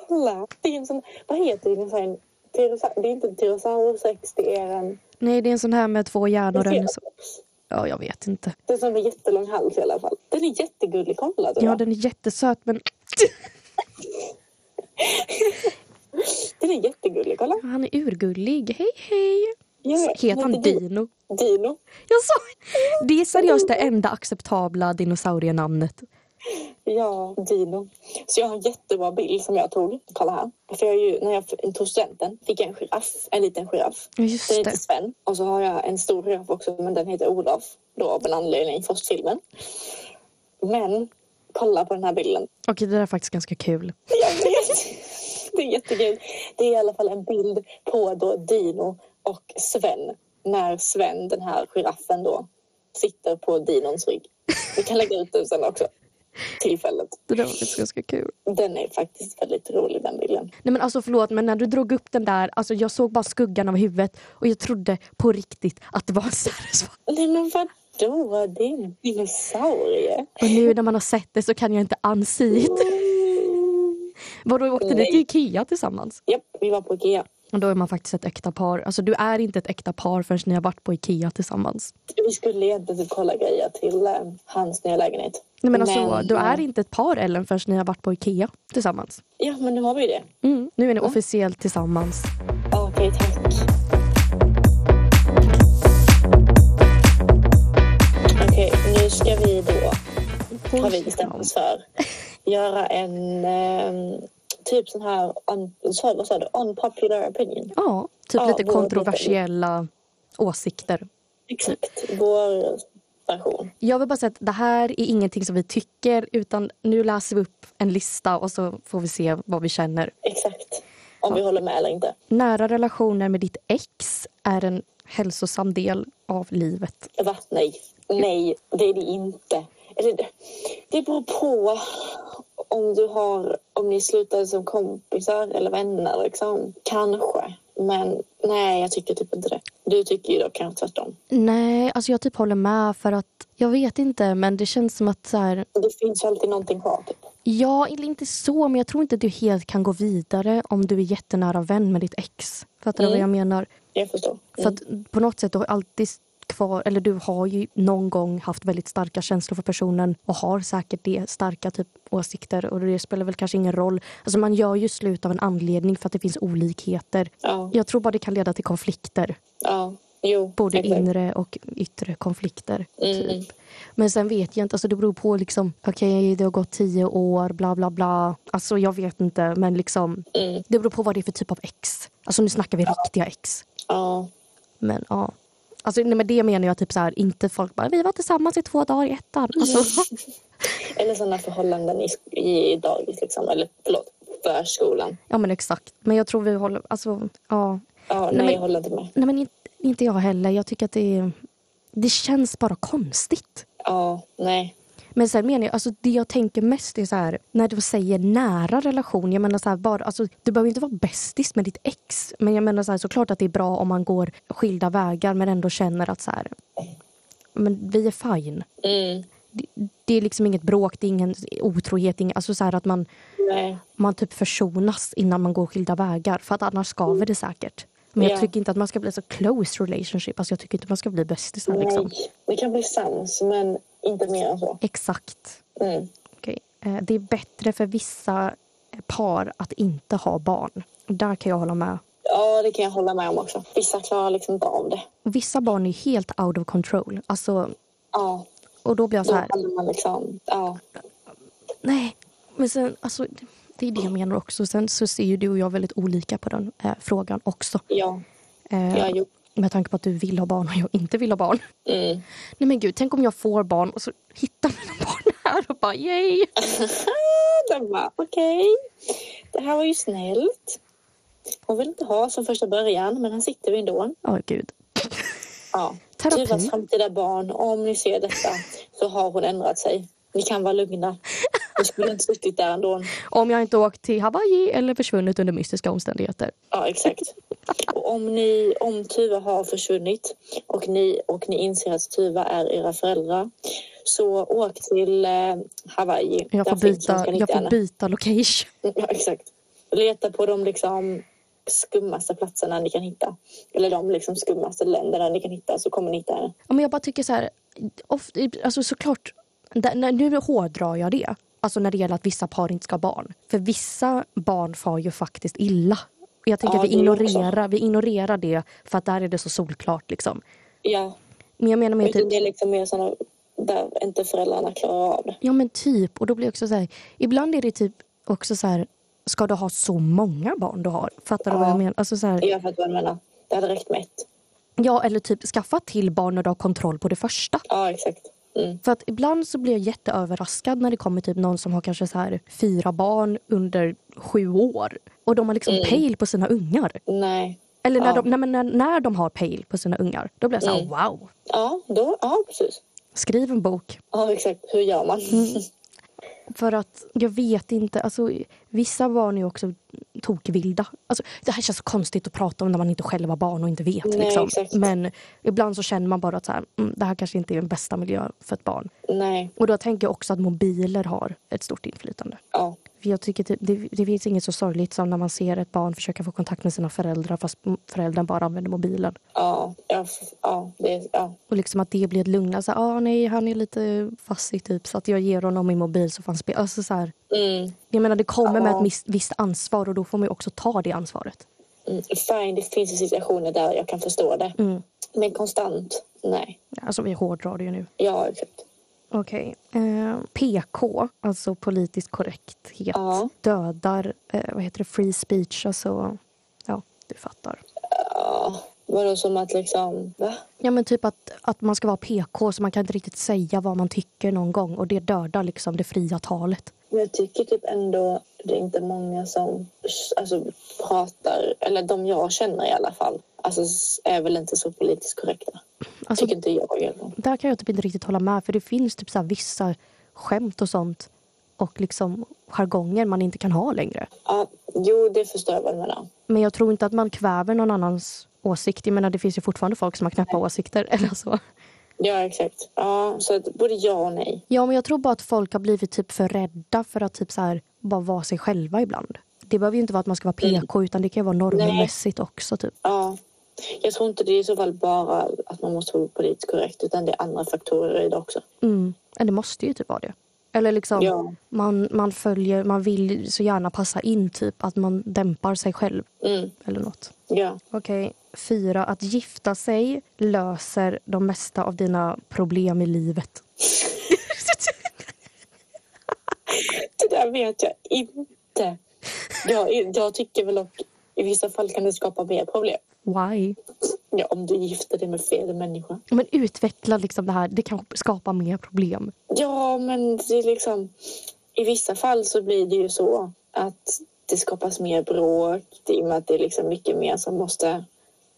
Speaker 2: Kolla. Det är en sån, vad heter dinosaurien? Tyrosa- Det är inte en Tyrannosaurus rex, det är en...
Speaker 3: Nej, det är en sån här med två hjärnor. Den är så...
Speaker 2: Triceratops.
Speaker 3: Ja, jag vet inte.
Speaker 2: Det är som en jättelång hals i alla fall. Den är jättegullig. Kolla du.
Speaker 3: Ja, den är jättesöt men
Speaker 2: Den är jättegullig. Kolla.
Speaker 3: han är urgullig. Hej, hej!
Speaker 2: Jag vet,
Speaker 3: Heter han
Speaker 2: heter
Speaker 3: Dino?
Speaker 2: Dino.
Speaker 3: Jag sa Det är seriöst det enda acceptabla dinosaurienamnet.
Speaker 2: Ja, Dino. Så jag har en jättebra bild som jag tog. Kolla här. För jag är ju, när jag tog studenten fick jag en giraff. En liten giraff.
Speaker 3: Ja,
Speaker 2: Den
Speaker 3: just
Speaker 2: heter
Speaker 3: det.
Speaker 2: Sven. Och så har jag en stor giraff också, men den heter Olof. Då av en anledning, Frost-filmen. Men kolla på den här bilden.
Speaker 3: Okej, det där är faktiskt ganska kul.
Speaker 2: Jag vet. Det är jättekul. Det är i alla fall en bild på då Dino och Sven. När Sven, den här giraffen då, sitter på Dinons rygg. Vi kan lägga ut den sen också. Tillfället.
Speaker 3: Det där var faktiskt ganska kul.
Speaker 2: Den är faktiskt väldigt rolig den bilden.
Speaker 3: Nej men alltså förlåt men när du drog upp den där, alltså jag såg bara skuggan av huvudet och jag trodde på riktigt att det var en satisfier.
Speaker 2: Nej men vadå? Det är en dinosaurie.
Speaker 3: Och nu när man har sett det så kan jag inte unsee it. Vadå, åkte ni
Speaker 2: Nej.
Speaker 3: till Ikea tillsammans?
Speaker 2: Japp, vi var på Ikea.
Speaker 3: Och då är man faktiskt ett äkta par. Alltså du är inte ett äkta par förrän ni har varit på Ikea tillsammans.
Speaker 2: Vi skulle egentligen typ kolla grejer till eh, hans nya lägenhet.
Speaker 3: Nej men alltså du är
Speaker 2: eh,
Speaker 3: inte ett par Ellen förrän ni har varit på Ikea tillsammans.
Speaker 2: Ja, men nu har vi ju det.
Speaker 3: Mm. Nu är ni officiellt tillsammans.
Speaker 2: Ja, Okej, tack. Okej, nu ska vi då, har vi bestämt oss för, göra en eh, typ sån här, un, så- vad sa du, unpopular opinion.
Speaker 3: Ja, typ
Speaker 2: Ja,
Speaker 3: lite
Speaker 2: vår-
Speaker 3: kontroversiella åsikter.
Speaker 2: Exakt, vår version.
Speaker 3: Jag vill bara säga att det här är ingenting som vi tycker utan nu läser vi upp en lista och så får vi se vad vi känner.
Speaker 2: Exakt. Om vi håller med eller inte.
Speaker 3: Nära relationer med ditt ex är en hälsosam del av livet.
Speaker 2: Va? Nej. Nej, det är det inte. Eller, det- det beror på om du har, om ni slutade som kompisar eller vänner liksom. Kanske. Men nej, jag tycker typ inte det. Du tycker ju då kanske tvärtom.
Speaker 3: Nej, alltså jag typ håller med för att jag vet inte men det känns som att så här,
Speaker 2: Det finns ju alltid någonting kvar typ.
Speaker 3: ja, eller inte så men jag tror inte att du helt kan gå vidare om du är jättenära vän med ditt ex. Fattar du vad jag menar?
Speaker 2: Jag förstår.
Speaker 3: För att på något sätt, du har alltid kvar, eller du har ju någon gång haft väldigt starka känslor för personen och har säkert det, starka typ åsikter och det spelar väl kanske ingen roll. Alltså man gör ju slut av en anledning för att det finns olikheter.
Speaker 2: Ja,
Speaker 3: Jag tror bara det kan leda till konflikter,
Speaker 2: ja, jo.
Speaker 3: både
Speaker 2: exakt.
Speaker 3: inre och yttre konflikter.
Speaker 2: Mm, mm.
Speaker 3: Typ. Men sen vet jag inte, alltså det beror på liksom, okej det har gått tio år, bla bla bla. Alltså jag vet inte, men liksom
Speaker 2: Mm.
Speaker 3: det beror på vad det är för typ av ex. Alltså nu snackar vi riktiga ex.
Speaker 2: Ja,
Speaker 3: Men ja. Alltså, nej, men det menar jag typ så här, inte folk bara vi var tillsammans i två dagar i ettan.
Speaker 2: Mm.
Speaker 3: Alltså,
Speaker 2: eller sådana förhållanden i, sk- i dagis liksom. Eller förlåt, förskolan.
Speaker 3: ja men exakt. Men jag tror vi håller, alltså ja.
Speaker 2: Ja, nej,
Speaker 3: men-
Speaker 2: jag håller inte med.
Speaker 3: Nej men inte, inte jag heller. Jag tycker att det är, det känns bara konstigt.
Speaker 2: Ja, nej.
Speaker 3: Men sen menar jag, alltså det jag tänker mest är så här, när du säger nära relation, jag menar så här, bara, alltså, du behöver ju inte vara bästis med ditt ex. Men jag menar så här, såklart att det är bra om man går skilda vägar men ändå känner att så här, men vi är fine.
Speaker 2: Mm,
Speaker 3: det, det är liksom inget bråk, det är ingen otrohet. Ingen, alltså så här att man,
Speaker 2: nej.
Speaker 3: man typ försonas innan man går skilda vägar. För att annars skaver det säkert. Men jag
Speaker 2: Ja.
Speaker 3: tycker inte att man ska bli så close relationship. Alltså jag tycker inte man ska bli bästisar. Liksom.
Speaker 2: Nej, det kan bli sams, men inte mer än så.
Speaker 3: Exakt.
Speaker 2: Mm.
Speaker 3: Okej. Eh, Det är bättre för vissa par att inte ha barn. Där kan jag hålla med.
Speaker 2: Ja, det kan jag hålla med om också. Vissa klarar liksom inte av det.
Speaker 3: Och vissa barn är helt out of control. Alltså,
Speaker 2: Ja,
Speaker 3: och då blir jag så
Speaker 2: då
Speaker 3: här,
Speaker 2: faller man liksom... Ja,
Speaker 3: nej. Men sen, alltså, det är det jag menar också. Sen så ser ju du och jag väldigt olika på den eh, frågan också.
Speaker 2: ja,
Speaker 3: Eh,
Speaker 2: ja jo.
Speaker 3: Med tanke på att du vill ha barn och jag inte vill ha barn.
Speaker 2: Mm.
Speaker 3: Nej men gud, tänk om jag får barn och så hittar mina barn här och bara yay!
Speaker 2: Den bara, okej. Det här var ju snällt. Hon vill inte ha som första början, men här sitter vi ändå.
Speaker 3: Ja, gud.
Speaker 2: Ja.
Speaker 3: Terapi.
Speaker 2: Tuvas framtida barn, om ni ser detta så har hon ändrat sig. Ni kan vara lugna. Vi skulle inte suttit där ändå.
Speaker 3: Om jag inte åkt till Hawaii eller försvunnit under mystiska omständigheter.
Speaker 2: Ja, exakt. Och om, ni, om Tuva har försvunnit och ni, och ni inser att Tuva är era föräldrar så åk till eh, Hawaii.
Speaker 3: Jag får,
Speaker 2: Där finns hon,
Speaker 3: byta,
Speaker 2: ska ni hitta
Speaker 3: jag får
Speaker 2: henne.
Speaker 3: byta location.
Speaker 2: Ja, exakt. Leta på de liksom skummaste platserna ni kan hitta. Eller de liksom skummaste länderna ni kan hitta så kommer ni hitta henne.
Speaker 3: Ja, men jag bara tycker så här, ofta, alltså såklart, där, när, nu hårdrar jag det. Alltså när det gäller att vissa par inte ska ha barn. För vissa barn far ju faktiskt illa. Och Jag tänker
Speaker 2: Ja,
Speaker 3: att vi
Speaker 2: det är också.
Speaker 3: ignorerar, vi ignorerar det för att där är det så solklart. Liksom.
Speaker 2: Ja,
Speaker 3: Men jag menar mer
Speaker 2: utan
Speaker 3: typ,
Speaker 2: det är liksom mer sådana där inte föräldrarna klarar av det.
Speaker 3: Ja men typ. Och då blir jag också så här, ibland är det typ också så här, ska du ha så många barn du har? Fattar du vad
Speaker 2: Ja.
Speaker 3: jag menar? Alltså så här,
Speaker 2: Jag fattar vad du menar. Det hade räckt med ett.
Speaker 3: ja, eller typ skaffa till barn när du har kontroll på det första.
Speaker 2: Ja, exakt. Mm.
Speaker 3: För att ibland så blir jag jätteöverraskad när det kommer typ någon som har kanske så här fyra barn under sju år. Och de har liksom pejl på sina ungar.
Speaker 2: Nej.
Speaker 3: Eller
Speaker 2: Mm.
Speaker 3: när,
Speaker 2: Ja. Mm.
Speaker 3: de, nej, men när, när de har pejl på sina ungar. Då blir jag så här, wow.
Speaker 2: Ja, då, ja precis.
Speaker 3: Skriv en bok.
Speaker 2: Ja, exakt. Hur gör man?
Speaker 3: För att jag vet inte, alltså, vissa barn är ju också tokvilda. Alltså, det här känns så konstigt att prata om när man inte själv var barn och inte vet.
Speaker 2: Nej,
Speaker 3: liksom.
Speaker 2: exakt.
Speaker 3: Men ibland så känner man bara att så här, mm, det här kanske inte är den bästa miljön för ett barn.
Speaker 2: Nej.
Speaker 3: Och då tänker jag också att mobiler har ett stort inflytande.
Speaker 2: Ja.
Speaker 3: För jag tycker typ, det, det finns inget så sorgligt som när man ser ett barn försöka få kontakt med sina föräldrar fast m- föräldern bara använder mobilen.
Speaker 2: Ja. Ja. f- Ja. Det, ja.
Speaker 3: Och liksom att det blir ett lugn. Alltså, ah, nej, han är lite fassig typ så att jag ger honom min mobil så får han spela. Alltså, så här,
Speaker 2: Mm.
Speaker 3: Jag menar det kommer med
Speaker 2: Ja.
Speaker 3: ett miss, visst ansvar och då får man ju också ta det ansvaret.
Speaker 2: Mm. Fine, det finns ju situationer där jag kan förstå det.
Speaker 3: Mm.
Speaker 2: Men konstant? Nej.
Speaker 3: Alltså vi hårdrar det ju nu.
Speaker 2: Ja, exakt.
Speaker 3: Okej. Eh, PK, alltså politisk korrekthet,
Speaker 2: Ja.
Speaker 3: dödar eh, vad heter det, free speech. Alltså, ja, du fattar.
Speaker 2: Ja. Vadå som att liksom... Va?
Speaker 3: Ja men typ att, att man ska vara PK så man kan inte riktigt säga vad man tycker någon gång och det dödar liksom det fria talet.
Speaker 2: Men jag tycker typ ändå det är inte många som alltså, pratar, eller de jag känner i alla fall, alltså, s- är väl inte så politiskt korrekta.
Speaker 3: Alltså,
Speaker 2: Tycker inte jag i alla fall.
Speaker 3: där kan jag typ inte riktigt hålla med för det finns typ så här vissa skämt och sånt och liksom jargonger man inte kan ha längre.
Speaker 2: Ja, jo, det förstår jag vad du menar.
Speaker 3: Men jag tror inte att man kväver någon annans åsikt. Jag menar, det finns ju fortfarande folk som har knäppa åsikter. Eller så.
Speaker 2: Ja, exakt. Ja, så att både ja och nej.
Speaker 3: Ja, men jag tror bara att folk har blivit typ för rädda för att typ så här, bara vara sig själva ibland. Det behöver ju inte vara att man ska vara PK, utan det kan ju vara normmässigt också. Typ.
Speaker 2: Ja. Jag tror inte det är i så fall bara att man måste vara politiskt korrekt utan det är andra faktorer i det också.
Speaker 3: Mm. Men Det måste ju typ vara det. Eller liksom,
Speaker 2: Ja.
Speaker 3: man, man följer, man vill ju så gärna passa in, typ att man dämpar sig själv.
Speaker 2: Mm,
Speaker 3: Eller något.
Speaker 2: ja.
Speaker 3: Okej, fyra. Att gifta sig löser de mesta av dina problem i livet.
Speaker 2: Det där vet jag inte. Jag, jag tycker väl att i vissa fall kan det skapa mer problem.
Speaker 3: Why?
Speaker 2: Ja, om du gifter dig med fel människa.
Speaker 3: Men utveckla liksom det här, det kan skapa mer problem.
Speaker 2: Ja, men det är liksom... I vissa fall så blir det ju så att det skapas mer bråk i och med att det är liksom mycket mer som måste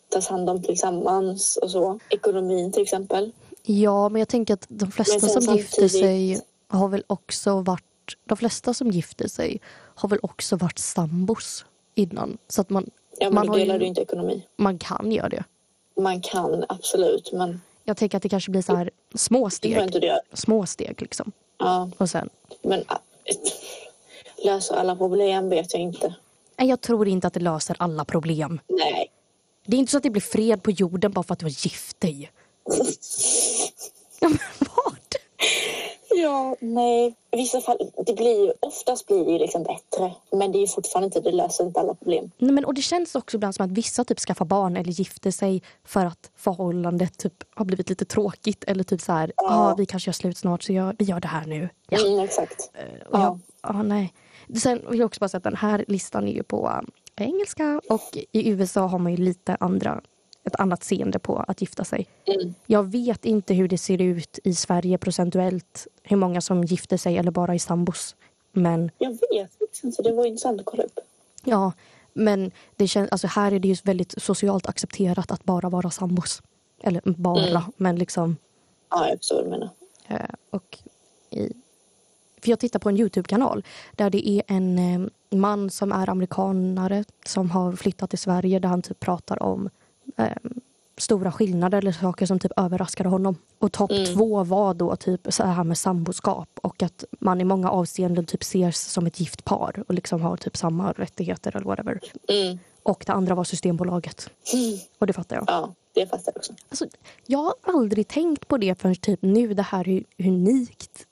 Speaker 2: tas hand om tillsammans och så. Ekonomin till exempel.
Speaker 3: Ja, men jag tänker att de flesta
Speaker 2: Men
Speaker 3: som
Speaker 2: sen
Speaker 3: gifter sig
Speaker 2: samtidigt-
Speaker 3: har väl också varit, de flesta som gifter sig har väl också varit sambos innan. Så att man,
Speaker 2: Ja, men
Speaker 3: man,
Speaker 2: då
Speaker 3: har
Speaker 2: delar du
Speaker 3: ju,
Speaker 2: inte ekonomi.
Speaker 3: man kan göra det.
Speaker 2: Man kan absolut, men
Speaker 3: Jag tänker att det kanske blir så här små
Speaker 2: det tror jag
Speaker 3: steg.
Speaker 2: inte du gör.
Speaker 3: Små steg liksom.
Speaker 2: Ja,
Speaker 3: Och sen,
Speaker 2: men äh, löser alla problem vet jag inte.
Speaker 3: nej, jag tror inte att det löser alla problem.
Speaker 2: Nej.
Speaker 3: Det är inte så att det blir fred på jorden bara för att du har gift dig. Ja, men vad?
Speaker 2: Ja, nej. I vissa fall, det blir ju, oftast blir det ju liksom bättre. Men det är ju fortfarande inte, det löser inte alla problem.
Speaker 3: Nej, men, och det känns också ibland som att vissa typ skaffar barn eller gifter sig för att förhållandet typ har blivit lite tråkigt. Eller typ så här, ja ah, vi kanske gör slut snart så jag, vi gör det här nu. Ja.
Speaker 2: Mm, exakt.
Speaker 3: Och jag,
Speaker 2: Ja.
Speaker 3: ah, nej. Sen vill jag också bara säga att den här listan är ju på eh, engelska och i USA har man ju lite andra, ett annat seende på att gifta sig.
Speaker 2: Mm.
Speaker 3: Jag vet inte hur det ser ut i Sverige procentuellt, hur många som gifter sig eller bara är sambos. Men
Speaker 2: Jag vet liksom, så det var intressant att kolla upp.
Speaker 3: Ja, men det känns, alltså här är det ju väldigt socialt accepterat att bara vara sambos. Eller bara, men liksom...
Speaker 2: Ja, jag förstår vad du menar.
Speaker 3: eh, Och i, för jag tittar på en Youtube-kanal där det är en eh, man som är amerikanare som har flyttat till Sverige där han typ pratar om eh, stora skillnader eller saker som typ överraskade honom. Och topp två var då typ så här med samboskap och att man i många avseenden typ ses som ett gift par och liksom har typ samma rättigheter eller whatever.
Speaker 2: Mm.
Speaker 3: Och det andra var Systembolaget. Och det fattar jag.
Speaker 2: Ja, det fattar jag också.
Speaker 3: Alltså, jag har aldrig tänkt på det förrän typ nu, det här hur hur unikt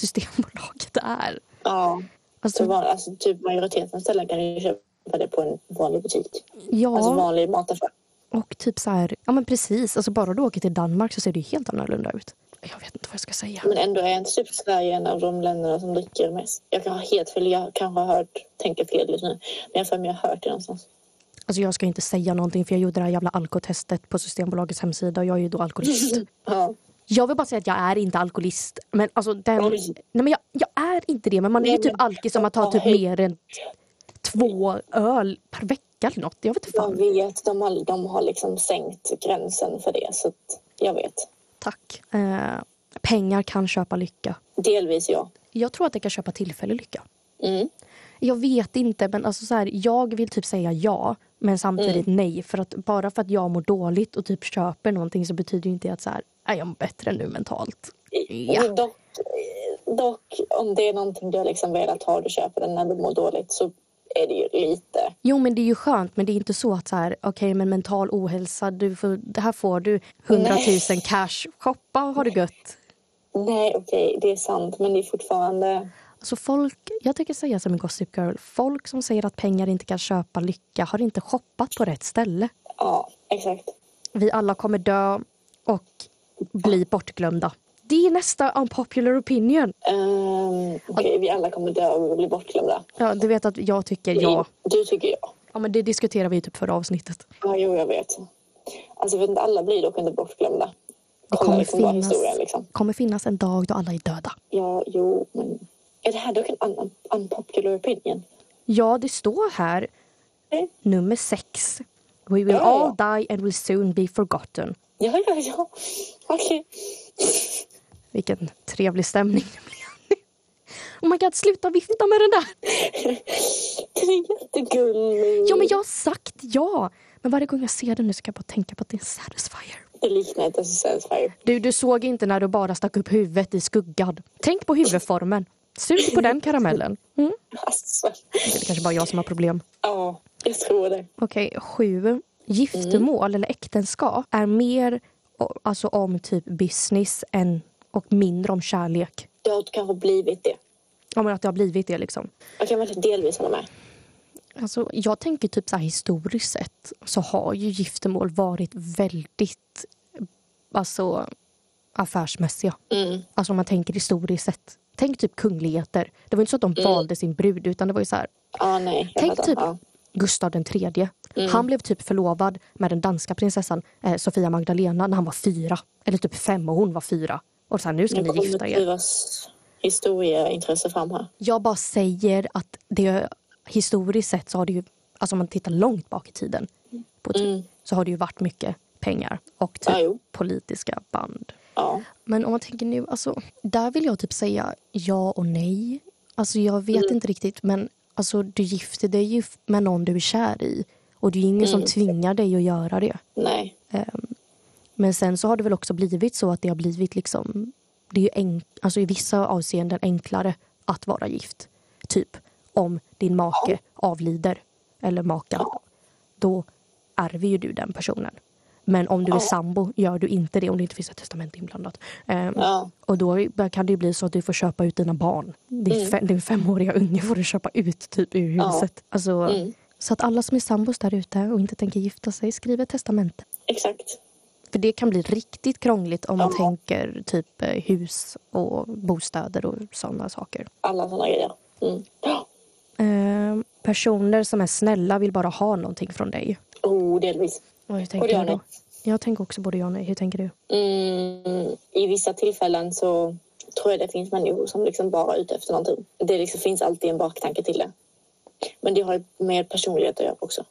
Speaker 3: Systembolaget är.
Speaker 2: Ja, så
Speaker 3: Alltså,
Speaker 2: var, alltså, typ majoriteten ställen kan du ju köpa det på en vanlig butik. Alltså
Speaker 3: ja,
Speaker 2: vanlig mataffär.
Speaker 3: och typ så här, ja men precis. Alltså bara du åker till Danmark så ser det ju helt annorlunda ut. Jag vet inte vad jag ska säga.
Speaker 2: Men ändå är inte typ Sverige en av de länderna som dricker mest. Jag kan ha helt fel, jag kanske har hört, tänker fel lite nu. Men jag har för mig jag har hört det någonstans.
Speaker 3: Alltså jag ska inte säga någonting för jag gjorde det här jävla alkotestet på Systembolagets hemsida och jag är ju då alkoholist.
Speaker 2: Mm. Ja.
Speaker 3: Jag vill bara säga att jag är inte alkoholist. Men alltså den,
Speaker 2: Oj.
Speaker 3: nej men jag, jag är inte det. Men man är ju
Speaker 2: Nej,
Speaker 3: typ
Speaker 2: men-
Speaker 3: alkis om man tar typ
Speaker 2: Oj.
Speaker 3: mer än två öl per vecka eller något. Jag vet inte
Speaker 2: Jag
Speaker 3: fan.
Speaker 2: vet, de har, de har liksom sänkt gränsen för det. Så att jag vet.
Speaker 3: Tack. Eh, pengar kan köpa lycka.
Speaker 2: Delvis ja.
Speaker 3: Jag tror att det kan köpa tillfällig lycka.
Speaker 2: Mm.
Speaker 3: Jag vet inte, men alltså så här, jag vill typ säga ja, men samtidigt nej. För att Bara för att jag mår dåligt och typ köper någonting så betyder ju inte det att så här, "Nej, jag mår bättre nu mentalt. Ja.
Speaker 2: Dock, dock, om det är någonting du har liksom velat ha och du köper den när du mår dåligt så är det ju lite.
Speaker 3: Jo, men det är ju skönt, men det är inte så att så här, okej, men mental ohälsa, du får, det här får du 100 000 cash, shoppa och ha det gött.
Speaker 2: Nej, okej, det är sant. Men det är fortfarande...
Speaker 3: Alltså folk, jag tänker säga som en gossip girl, folk som säger att pengar inte kan köpa lycka har inte shoppat på rätt ställe.
Speaker 2: Ja, exakt.
Speaker 3: Vi alla kommer dö och bli bortglömda. Det är nästa unpopular opinion.
Speaker 2: Um, okej, vi alla kommer dö och bli bortglömda.
Speaker 3: Ja, du vet att jag tycker ja.
Speaker 2: Du tycker ja.
Speaker 3: Ja, men det diskuterar vi ju typ förra avsnittet.
Speaker 2: Ja, jo, jag vet. Alltså, jag vet inte, alla blir dock inte bortglömda.
Speaker 3: Det
Speaker 2: Kolla
Speaker 3: kommer
Speaker 2: liksom bara
Speaker 3: finnas-
Speaker 2: historien liksom.
Speaker 3: kommer finnas en dag då alla är döda.
Speaker 2: Ja, jo, men... Är det här dock en un- unpopular opinion?
Speaker 3: Ja, det står här
Speaker 2: Nej.
Speaker 3: nummer sex. We will
Speaker 2: Ja, ja,
Speaker 3: all die and will soon be forgotten.
Speaker 2: Ja, ja, ja. Okej.
Speaker 3: Vilken trevlig stämning det blev. Oh my god, sluta vifta med den där!
Speaker 2: Det är jättegulligt.
Speaker 3: Ja, men jag har sagt ja! Men varje gång jag ser den nu ska jag bara tänka på att det är en satisfier.
Speaker 2: Det liknar inte Satisfyer.
Speaker 3: Du, du såg inte när du bara stack upp huvudet i skuggan. Tänk på huvudformen. Sug på den karamellen. Mm.
Speaker 2: Alltså,
Speaker 3: Det är kanske bara jag som har problem.
Speaker 2: ja, jag tror det.
Speaker 3: Okej, sju. Giftermål eller äktenskap är mer o- alltså, om typ business än, och mindre om kärlek.
Speaker 2: Det har kanske blivit det.
Speaker 3: Ja, men att det har blivit det liksom.
Speaker 2: Jag kan väl delvis hålla med.
Speaker 3: Alltså, jag tänker typ så här historiskt sett så har ju giftermål varit väldigt alltså, affärsmässiga.
Speaker 2: Mm.
Speaker 3: Alltså om man tänker historiskt sett. Tänk typ kungligheter. Det var inte så att de valde sin brud utan det var ju så här.
Speaker 2: Mm. Ja, nej. jag
Speaker 3: Tänk
Speaker 2: fattar.
Speaker 3: typ
Speaker 2: Ja. Mm.
Speaker 3: Gustav den tredje. Han blev typ förlovad med den danska prinsessan eh, Sofia Magdalena när han var fyra. Eller typ fem och hon var fyra. Och så här, nu ska
Speaker 2: Nu
Speaker 3: ni gifta
Speaker 2: kommer
Speaker 3: er.
Speaker 2: Tyras historieintresse fram här.
Speaker 3: Jag bara säger att det historiskt sett så har det ju, alltså om man tittar långt bak i tiden på typ,
Speaker 2: Mm.
Speaker 3: så har det ju varit mycket pengar och typ
Speaker 2: Ja, jo.
Speaker 3: politiska band.
Speaker 2: Ja.
Speaker 3: Men om man tänker nu, alltså, där vill jag typ säga ja och nej. Alltså jag vet inte riktigt men alltså, du gifter dig ju f- med någon du är kär i och det är ju ingen som tvingar dig att göra det.
Speaker 2: Nej.
Speaker 3: Men sen så har det väl också blivit så att det har blivit liksom... Det är ju enk, alltså i vissa avseenden enklare att vara gift. Typ om din make avlider eller maka. Då ärver ju du den personen. Men om du är
Speaker 2: Ja.
Speaker 3: sambo gör du inte det om det inte finns ett testamente inblandat. Ehm,
Speaker 2: Ja,
Speaker 3: Och då kan det ju bli så att du får köpa ut dina barn. Din,
Speaker 2: Mm.
Speaker 3: fe- din femåriga unge får du köpa ut typ ur
Speaker 2: Ja.
Speaker 3: huset. Alltså,
Speaker 2: mm,
Speaker 3: Så att alla som är sambos där ute och inte tänker gifta sig skriver testamente.
Speaker 2: exakt.
Speaker 3: För det kan bli riktigt krångligt om man
Speaker 2: Ja.
Speaker 3: tänker typ eh, hus och bostäder och sådana saker.
Speaker 2: Alla sådana grejer. Mm. Ja.
Speaker 3: Ehm, personer som är snälla vill bara ha någonting från dig.
Speaker 2: Oh, delvis.
Speaker 3: Och hur
Speaker 2: Både
Speaker 3: tänker
Speaker 2: ja
Speaker 3: du
Speaker 2: och
Speaker 3: då? Jag tänker också både ja och nej. Hur tänker du?
Speaker 2: Mm, I vissa tillfällen så tror jag det finns människor som liksom bara är ute efter någonting. Det liksom finns alltid en baktanke till det. Men det har med personlighet att göra också.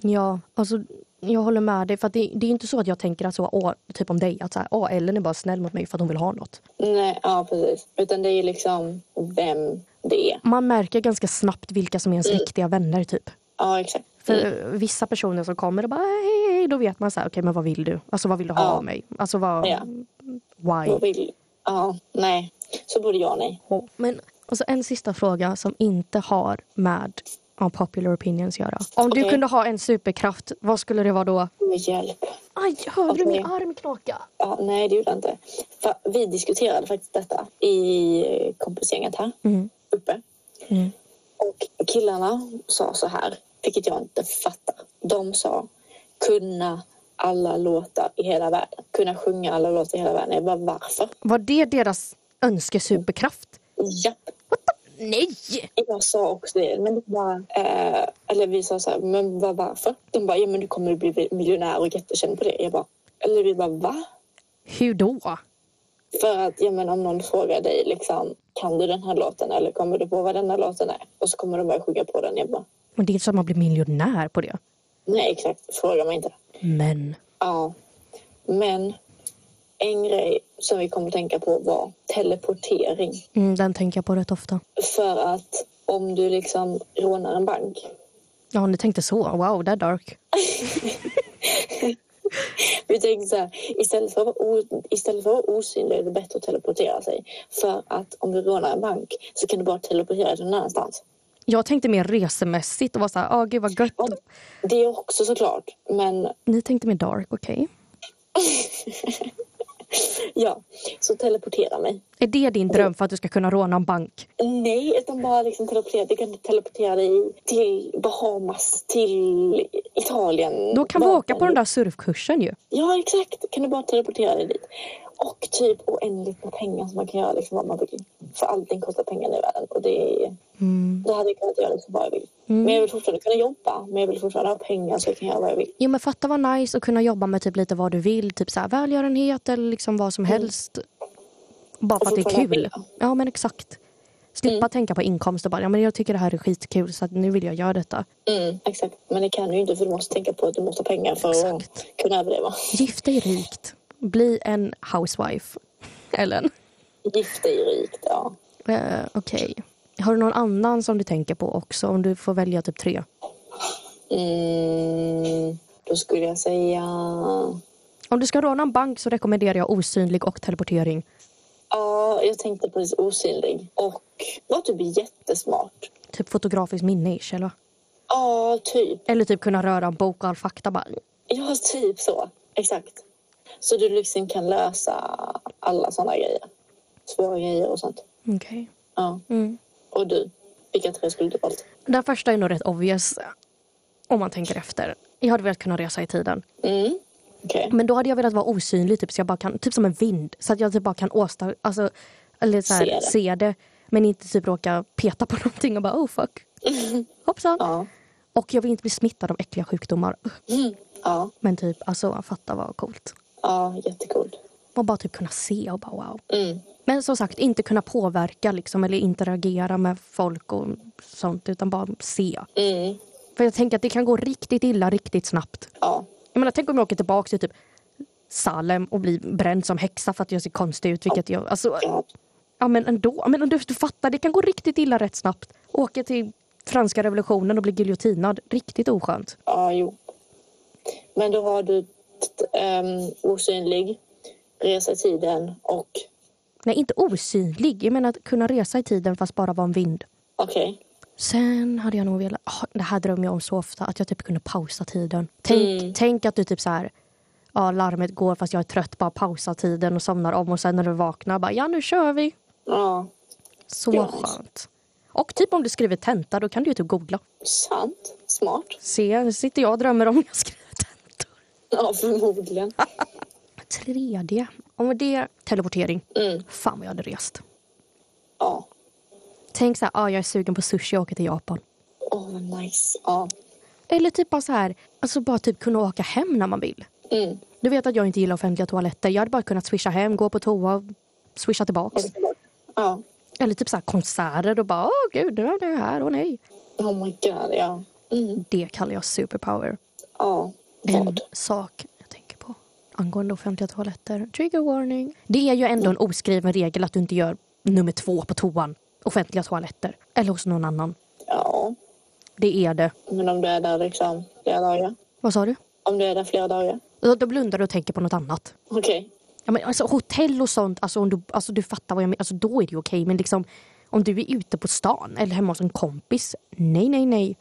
Speaker 3: Ja, alltså jag håller med dig. För att det, det är ju inte så att jag tänker att så, åh, typ om dig, att så här, åh, Ellen är bara snäll mot mig för att hon vill ha något.
Speaker 2: Nej, ja precis. Utan det är liksom vem det är.
Speaker 3: Man märker ganska snabbt vilka som är ens riktiga vänner typ.
Speaker 2: Ja, exakt.
Speaker 3: För eh, vissa personer som kommer och bara hej, hej, då vet man så här, okej men vad vill du? Alltså vad vill du ha
Speaker 2: Ja.
Speaker 3: av mig? Alltså vad,
Speaker 2: Ja.
Speaker 3: why?
Speaker 2: Vad vill... Ja, nej. Så borde jag nej.
Speaker 3: Men alltså, en sista fråga som inte har med ja, popular opinions att göra. Om du
Speaker 2: Okej.
Speaker 3: kunde ha en superkraft, vad skulle det vara då?
Speaker 2: Med hjälp.
Speaker 3: Aj, hörde du
Speaker 2: Okej.
Speaker 3: min arm knaka?
Speaker 2: Ja, nej, det gjorde jag inte. För vi diskuterade faktiskt detta i kompisgänget här
Speaker 3: Mm.
Speaker 2: uppe.
Speaker 3: Mm.
Speaker 2: Och killarna sa så här, vilket jag inte fattar. De sa kunna alla låtar i hela världen. Kunna sjunga alla låtar i hela världen. Jag bara, varför?
Speaker 3: Var det deras önskesuperkraft?
Speaker 2: Japp.
Speaker 3: Nej!
Speaker 2: Jag sa också det, men det var, eh, eller vi sa så här, men vad, varför? De bara, ja men du kommer att bli miljonär och jättekänd på det. Jag bara, eller vi bara, va?
Speaker 3: Hur då?
Speaker 2: För att ja, men om någon frågar dig liksom, kan du den här låten eller kommer du på vad den här låten är? Och så kommer de börja sjunga på den. Jag bara,
Speaker 3: Men det är inte så att man blir miljonär på det.
Speaker 2: nej exakt, fråga mig inte.
Speaker 3: Men.
Speaker 2: Ja. Men en grej som vi kom att tänka på var teleportering.
Speaker 3: Mm, den tänker jag på rätt ofta.
Speaker 2: För att om du liksom rånar en bank
Speaker 3: Ja, ni tänkte så. Wow, det är dark.
Speaker 2: Vi tänkte så här, istället för, att vara o- istället för att vara osynlig är det bättre att teleportera sig. För att om du rånar en bank så kan du bara teleportera dig någon annanstans.
Speaker 3: Jag tänkte mer resemässigt och var så här, ah gud vad gött.
Speaker 2: Ja, Det är också såklart, men
Speaker 3: Ni tänkte mer dark, okej.
Speaker 2: ja. Så teleportera mig.
Speaker 3: Är det din dröm för att du ska kunna råna en bank?
Speaker 2: Nej, utan bara liksom teleportera. Du kan teleportera dig till Bahamas, till Italien.
Speaker 3: Då kan vi
Speaker 2: Vart
Speaker 3: åka på
Speaker 2: än
Speaker 3: den
Speaker 2: du-
Speaker 3: där surfkursen ju.
Speaker 2: Ja, exakt. Kan du bara teleportera dig dit. Och typ oändligt med pengar som man kan göra liksom vad man vill. För allting kostar pengar i världen och det är
Speaker 3: Mm.
Speaker 2: Det hade jag kunnat göra liksom vad jag vill. Men jag vill fortfarande kunna jobba. Men jag vill fortfarande ha pengar så jag kan göra vad jag vill.
Speaker 3: Jo men fatta vad nice att kunna jobba med typ lite vad du vill. Typ så här, välgörenhet eller liksom vad som helst. Bara för att det
Speaker 2: Och
Speaker 3: är
Speaker 2: fortfarande
Speaker 3: kul.
Speaker 2: ha pengar.
Speaker 3: Ja men exakt. Slippa tänka på inkomst och bara, ja men jag tycker det här är skitkul så att nu vill jag göra detta.
Speaker 2: Mm, exakt. Men det kan du ju inte för du måste tänka på att du måste ha pengar för
Speaker 3: Exakt.
Speaker 2: att kunna överleva.
Speaker 3: Gift dig rikt. Bli en housewife. Ellen.
Speaker 2: Gift dig rikt, ja.
Speaker 3: Eh, Okej. Har du någon annan som du tänker på också? Om du får välja typ tre.
Speaker 2: Mm, då skulle jag säga...
Speaker 3: Om du ska råna en bank så rekommenderar jag osynlig och teleportering.
Speaker 2: Ja, jag tänkte precis osynlig. Och var typ jättesmart.
Speaker 3: Typ fotografiskt minne ish, eller?
Speaker 2: Ja, typ.
Speaker 3: Eller typ kunna röra en bok och all fakta bara.
Speaker 2: Ja, typ så. Exakt. Så du liksom kan lösa alla sådana grejer. Svåra grejer och sånt.
Speaker 3: Okej.
Speaker 2: Ja. Och du? Vilka tre skulle du valt?
Speaker 3: Den första är nog rätt obvious. Om man tänker efter. Jag hade velat kunna resa i tiden.
Speaker 2: Mm. Okej.
Speaker 3: Men då hade jag velat vara osynlig, typ, så jag bara kan, typ som en vind. Så att jag typ bara kan åsta, alltså, eller så här,
Speaker 2: Se
Speaker 3: se,
Speaker 2: det.
Speaker 3: det. Men inte typ råka peta på någonting och bara oh fuck. Hoppsan.
Speaker 2: Ja. Mm.
Speaker 3: Och jag vill inte bli smittad av äckliga sjukdomar.
Speaker 2: Ja.
Speaker 3: Men typ, alltså fatta vad coolt.
Speaker 2: Ja, jättekul.
Speaker 3: Och bara typ kunna se och bara wow.
Speaker 2: Mm.
Speaker 3: Men som sagt, inte kunna påverka liksom, eller interagera med folk och sånt, utan bara se.
Speaker 2: Mm.
Speaker 3: För jag tänker att det kan gå riktigt illa riktigt snabbt.
Speaker 2: Ja.
Speaker 3: Jag menar, tänk om jag åker tillbaka till typ Salem och blir bränd som häxa för att jag ser konstig ut. Vilket jag, alltså,
Speaker 2: ja.
Speaker 3: ja men ändå. Ja, Men du, du fattar, det kan gå riktigt illa rätt snabbt. Åka till franska revolutionen och bli giljotinad. Riktigt oskönt.
Speaker 2: Ja, jo. Men då har du um, osynlig, resa i tiden och...
Speaker 3: Nej, inte osynlig. Jag menar att kunna resa i tiden fast bara vara en vind.
Speaker 2: Okej.
Speaker 3: Sen hade jag nog velat... ah, det här drömmer jag om så ofta. Att jag typ kunde pausa tiden. Tänk, tänk att du typ så här... ja, larmet går fast jag är trött, bara pausar tiden och somnar om och sen när du vaknar bara ja nu kör vi.
Speaker 2: Ja,
Speaker 3: Så
Speaker 2: Ja.
Speaker 3: skönt. Och typ om du skriver tenta då kan du ju typ googla.
Speaker 2: sant. Smart.
Speaker 3: Se, nu sitter jag och drömmer om jag skriver tentor.
Speaker 2: Ja, förmodligen.
Speaker 3: Tredje, om det är teleportering.
Speaker 2: Mm.
Speaker 3: Fan vad jag hade rest.
Speaker 2: Ja.
Speaker 3: Tänk så här, ah, jag är sugen på sushi och åker till Japan.
Speaker 2: Åh, oh, vad nice. Ja.
Speaker 3: Eller typ bara så här, alltså bara typ kunna åka hem när man vill.
Speaker 2: Mm.
Speaker 3: Du vet att jag inte gillar offentliga toaletter. Jag hade bara kunnat swisha hem, gå på toa och swisha tillbaks.
Speaker 2: Mm. Ja.
Speaker 3: Eller typ så här konserter och bara åh gud, nu är du här, åh nej.
Speaker 2: Oh my god, ja. Mm.
Speaker 3: Det kallar jag superpower.
Speaker 2: Ja.
Speaker 3: En
Speaker 2: Vad?
Speaker 3: sak jag tänker på angående offentliga toaletter. Trigger warning. Det är ju ändå en oskriven regel att du inte gör nummer två på toan. Offentliga toaletter. Eller hos någon annan.
Speaker 2: Ja.
Speaker 3: Det är det.
Speaker 2: Men om du är där liksom flera dagar?
Speaker 3: Vad sa du?
Speaker 2: Om du är där flera dagar?
Speaker 3: Då då blundar du och tänker på något annat.
Speaker 2: Okej.
Speaker 3: Ja, men alltså, hotell och sånt, alltså, om du, alltså, du fattar vad jag menar. Alltså, då är det ju okej. Men liksom, om du är ute på stan eller hemma hos en kompis. Nej, nej, nej.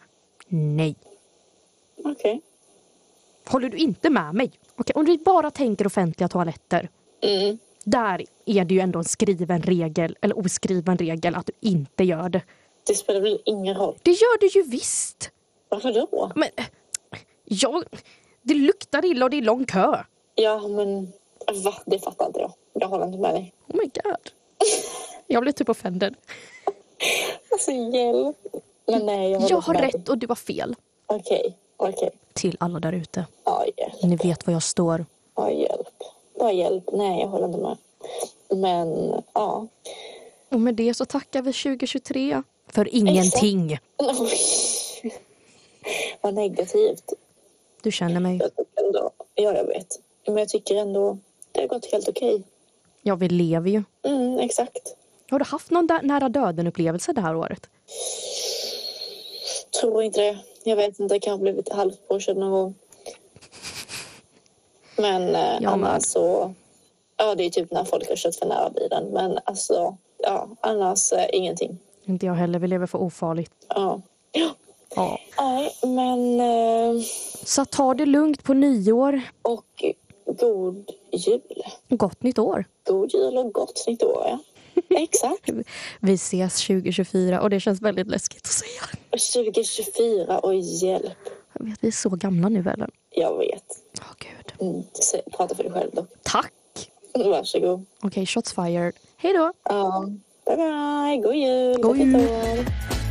Speaker 3: Nej.
Speaker 2: Okej.
Speaker 3: Håller du inte med mig? Okej, om du bara tänker offentliga toaletter.
Speaker 2: Mm.
Speaker 3: Där är det ju ändå en skriven regel, eller oskriven regel, att du inte gör det.
Speaker 2: Det spelar väl ingen roll?
Speaker 3: Det gör du ju visst!
Speaker 2: Varför då?
Speaker 3: Men eh, jag... Det luktar illa och det är lång kö.
Speaker 2: Ja, men... Va? Det fattar inte jag. Jag håller inte med dig.
Speaker 3: Oh my god. Jag blev typ offended.
Speaker 2: Alltså, hjälp. Men nej, jag håller
Speaker 3: Jag
Speaker 2: inte
Speaker 3: har
Speaker 2: med dig.
Speaker 3: rätt och du har fel.
Speaker 2: Okej, okej.
Speaker 3: Till alla där ute.
Speaker 2: Ja, hjälp.
Speaker 3: Ni vet var jag står.
Speaker 2: Ja, hjälp. Ja, hjälp. Nej, jag håller inte med. Men, ja.
Speaker 3: Och med det så tackar vi 2023 för ingenting.
Speaker 2: Oj. Vad negativt.
Speaker 3: Du känner mig.
Speaker 2: Jag tycker ändå, ja, jag vet. Men jag tycker ändå det har gått helt okej.
Speaker 3: Ja, vi lever ju.
Speaker 2: Mm, exakt.
Speaker 3: Har du haft någon där- nära döden-upplevelse det här året?
Speaker 2: Tror inte det. Jag vet inte, jag kanske blivit halvt påkörd någon gång. Men eh,
Speaker 3: Jag med.
Speaker 2: annars så... Ja, det är typ när folk har kört för nära bilen. Men alltså, ja, annars eh, ingenting.
Speaker 3: Inte jag heller. Vi lever för ofarligt.
Speaker 2: Ja.
Speaker 3: Ja.
Speaker 2: Nej, men... Eh,
Speaker 3: Så ta det lugnt på nyår.
Speaker 2: och god jul.
Speaker 3: Gott nytt år.
Speaker 2: God jul och gott nytt år, ja. Exakt.
Speaker 3: Vi ses 2024 och det känns väldigt läskigt att säga.
Speaker 2: Och 2024, och hjälp.
Speaker 3: Jag vet, vi är så gamla nu, Ellen.
Speaker 2: Jag vet.
Speaker 3: Åh gud.
Speaker 2: Mm. se- Prata för dig själv dock.
Speaker 3: Tack!
Speaker 2: Varsågod.
Speaker 3: Okej, shots fired. Hej då!
Speaker 2: Ja. Bye bye. God jul.
Speaker 3: God jul.
Speaker 2: Gott nytt år.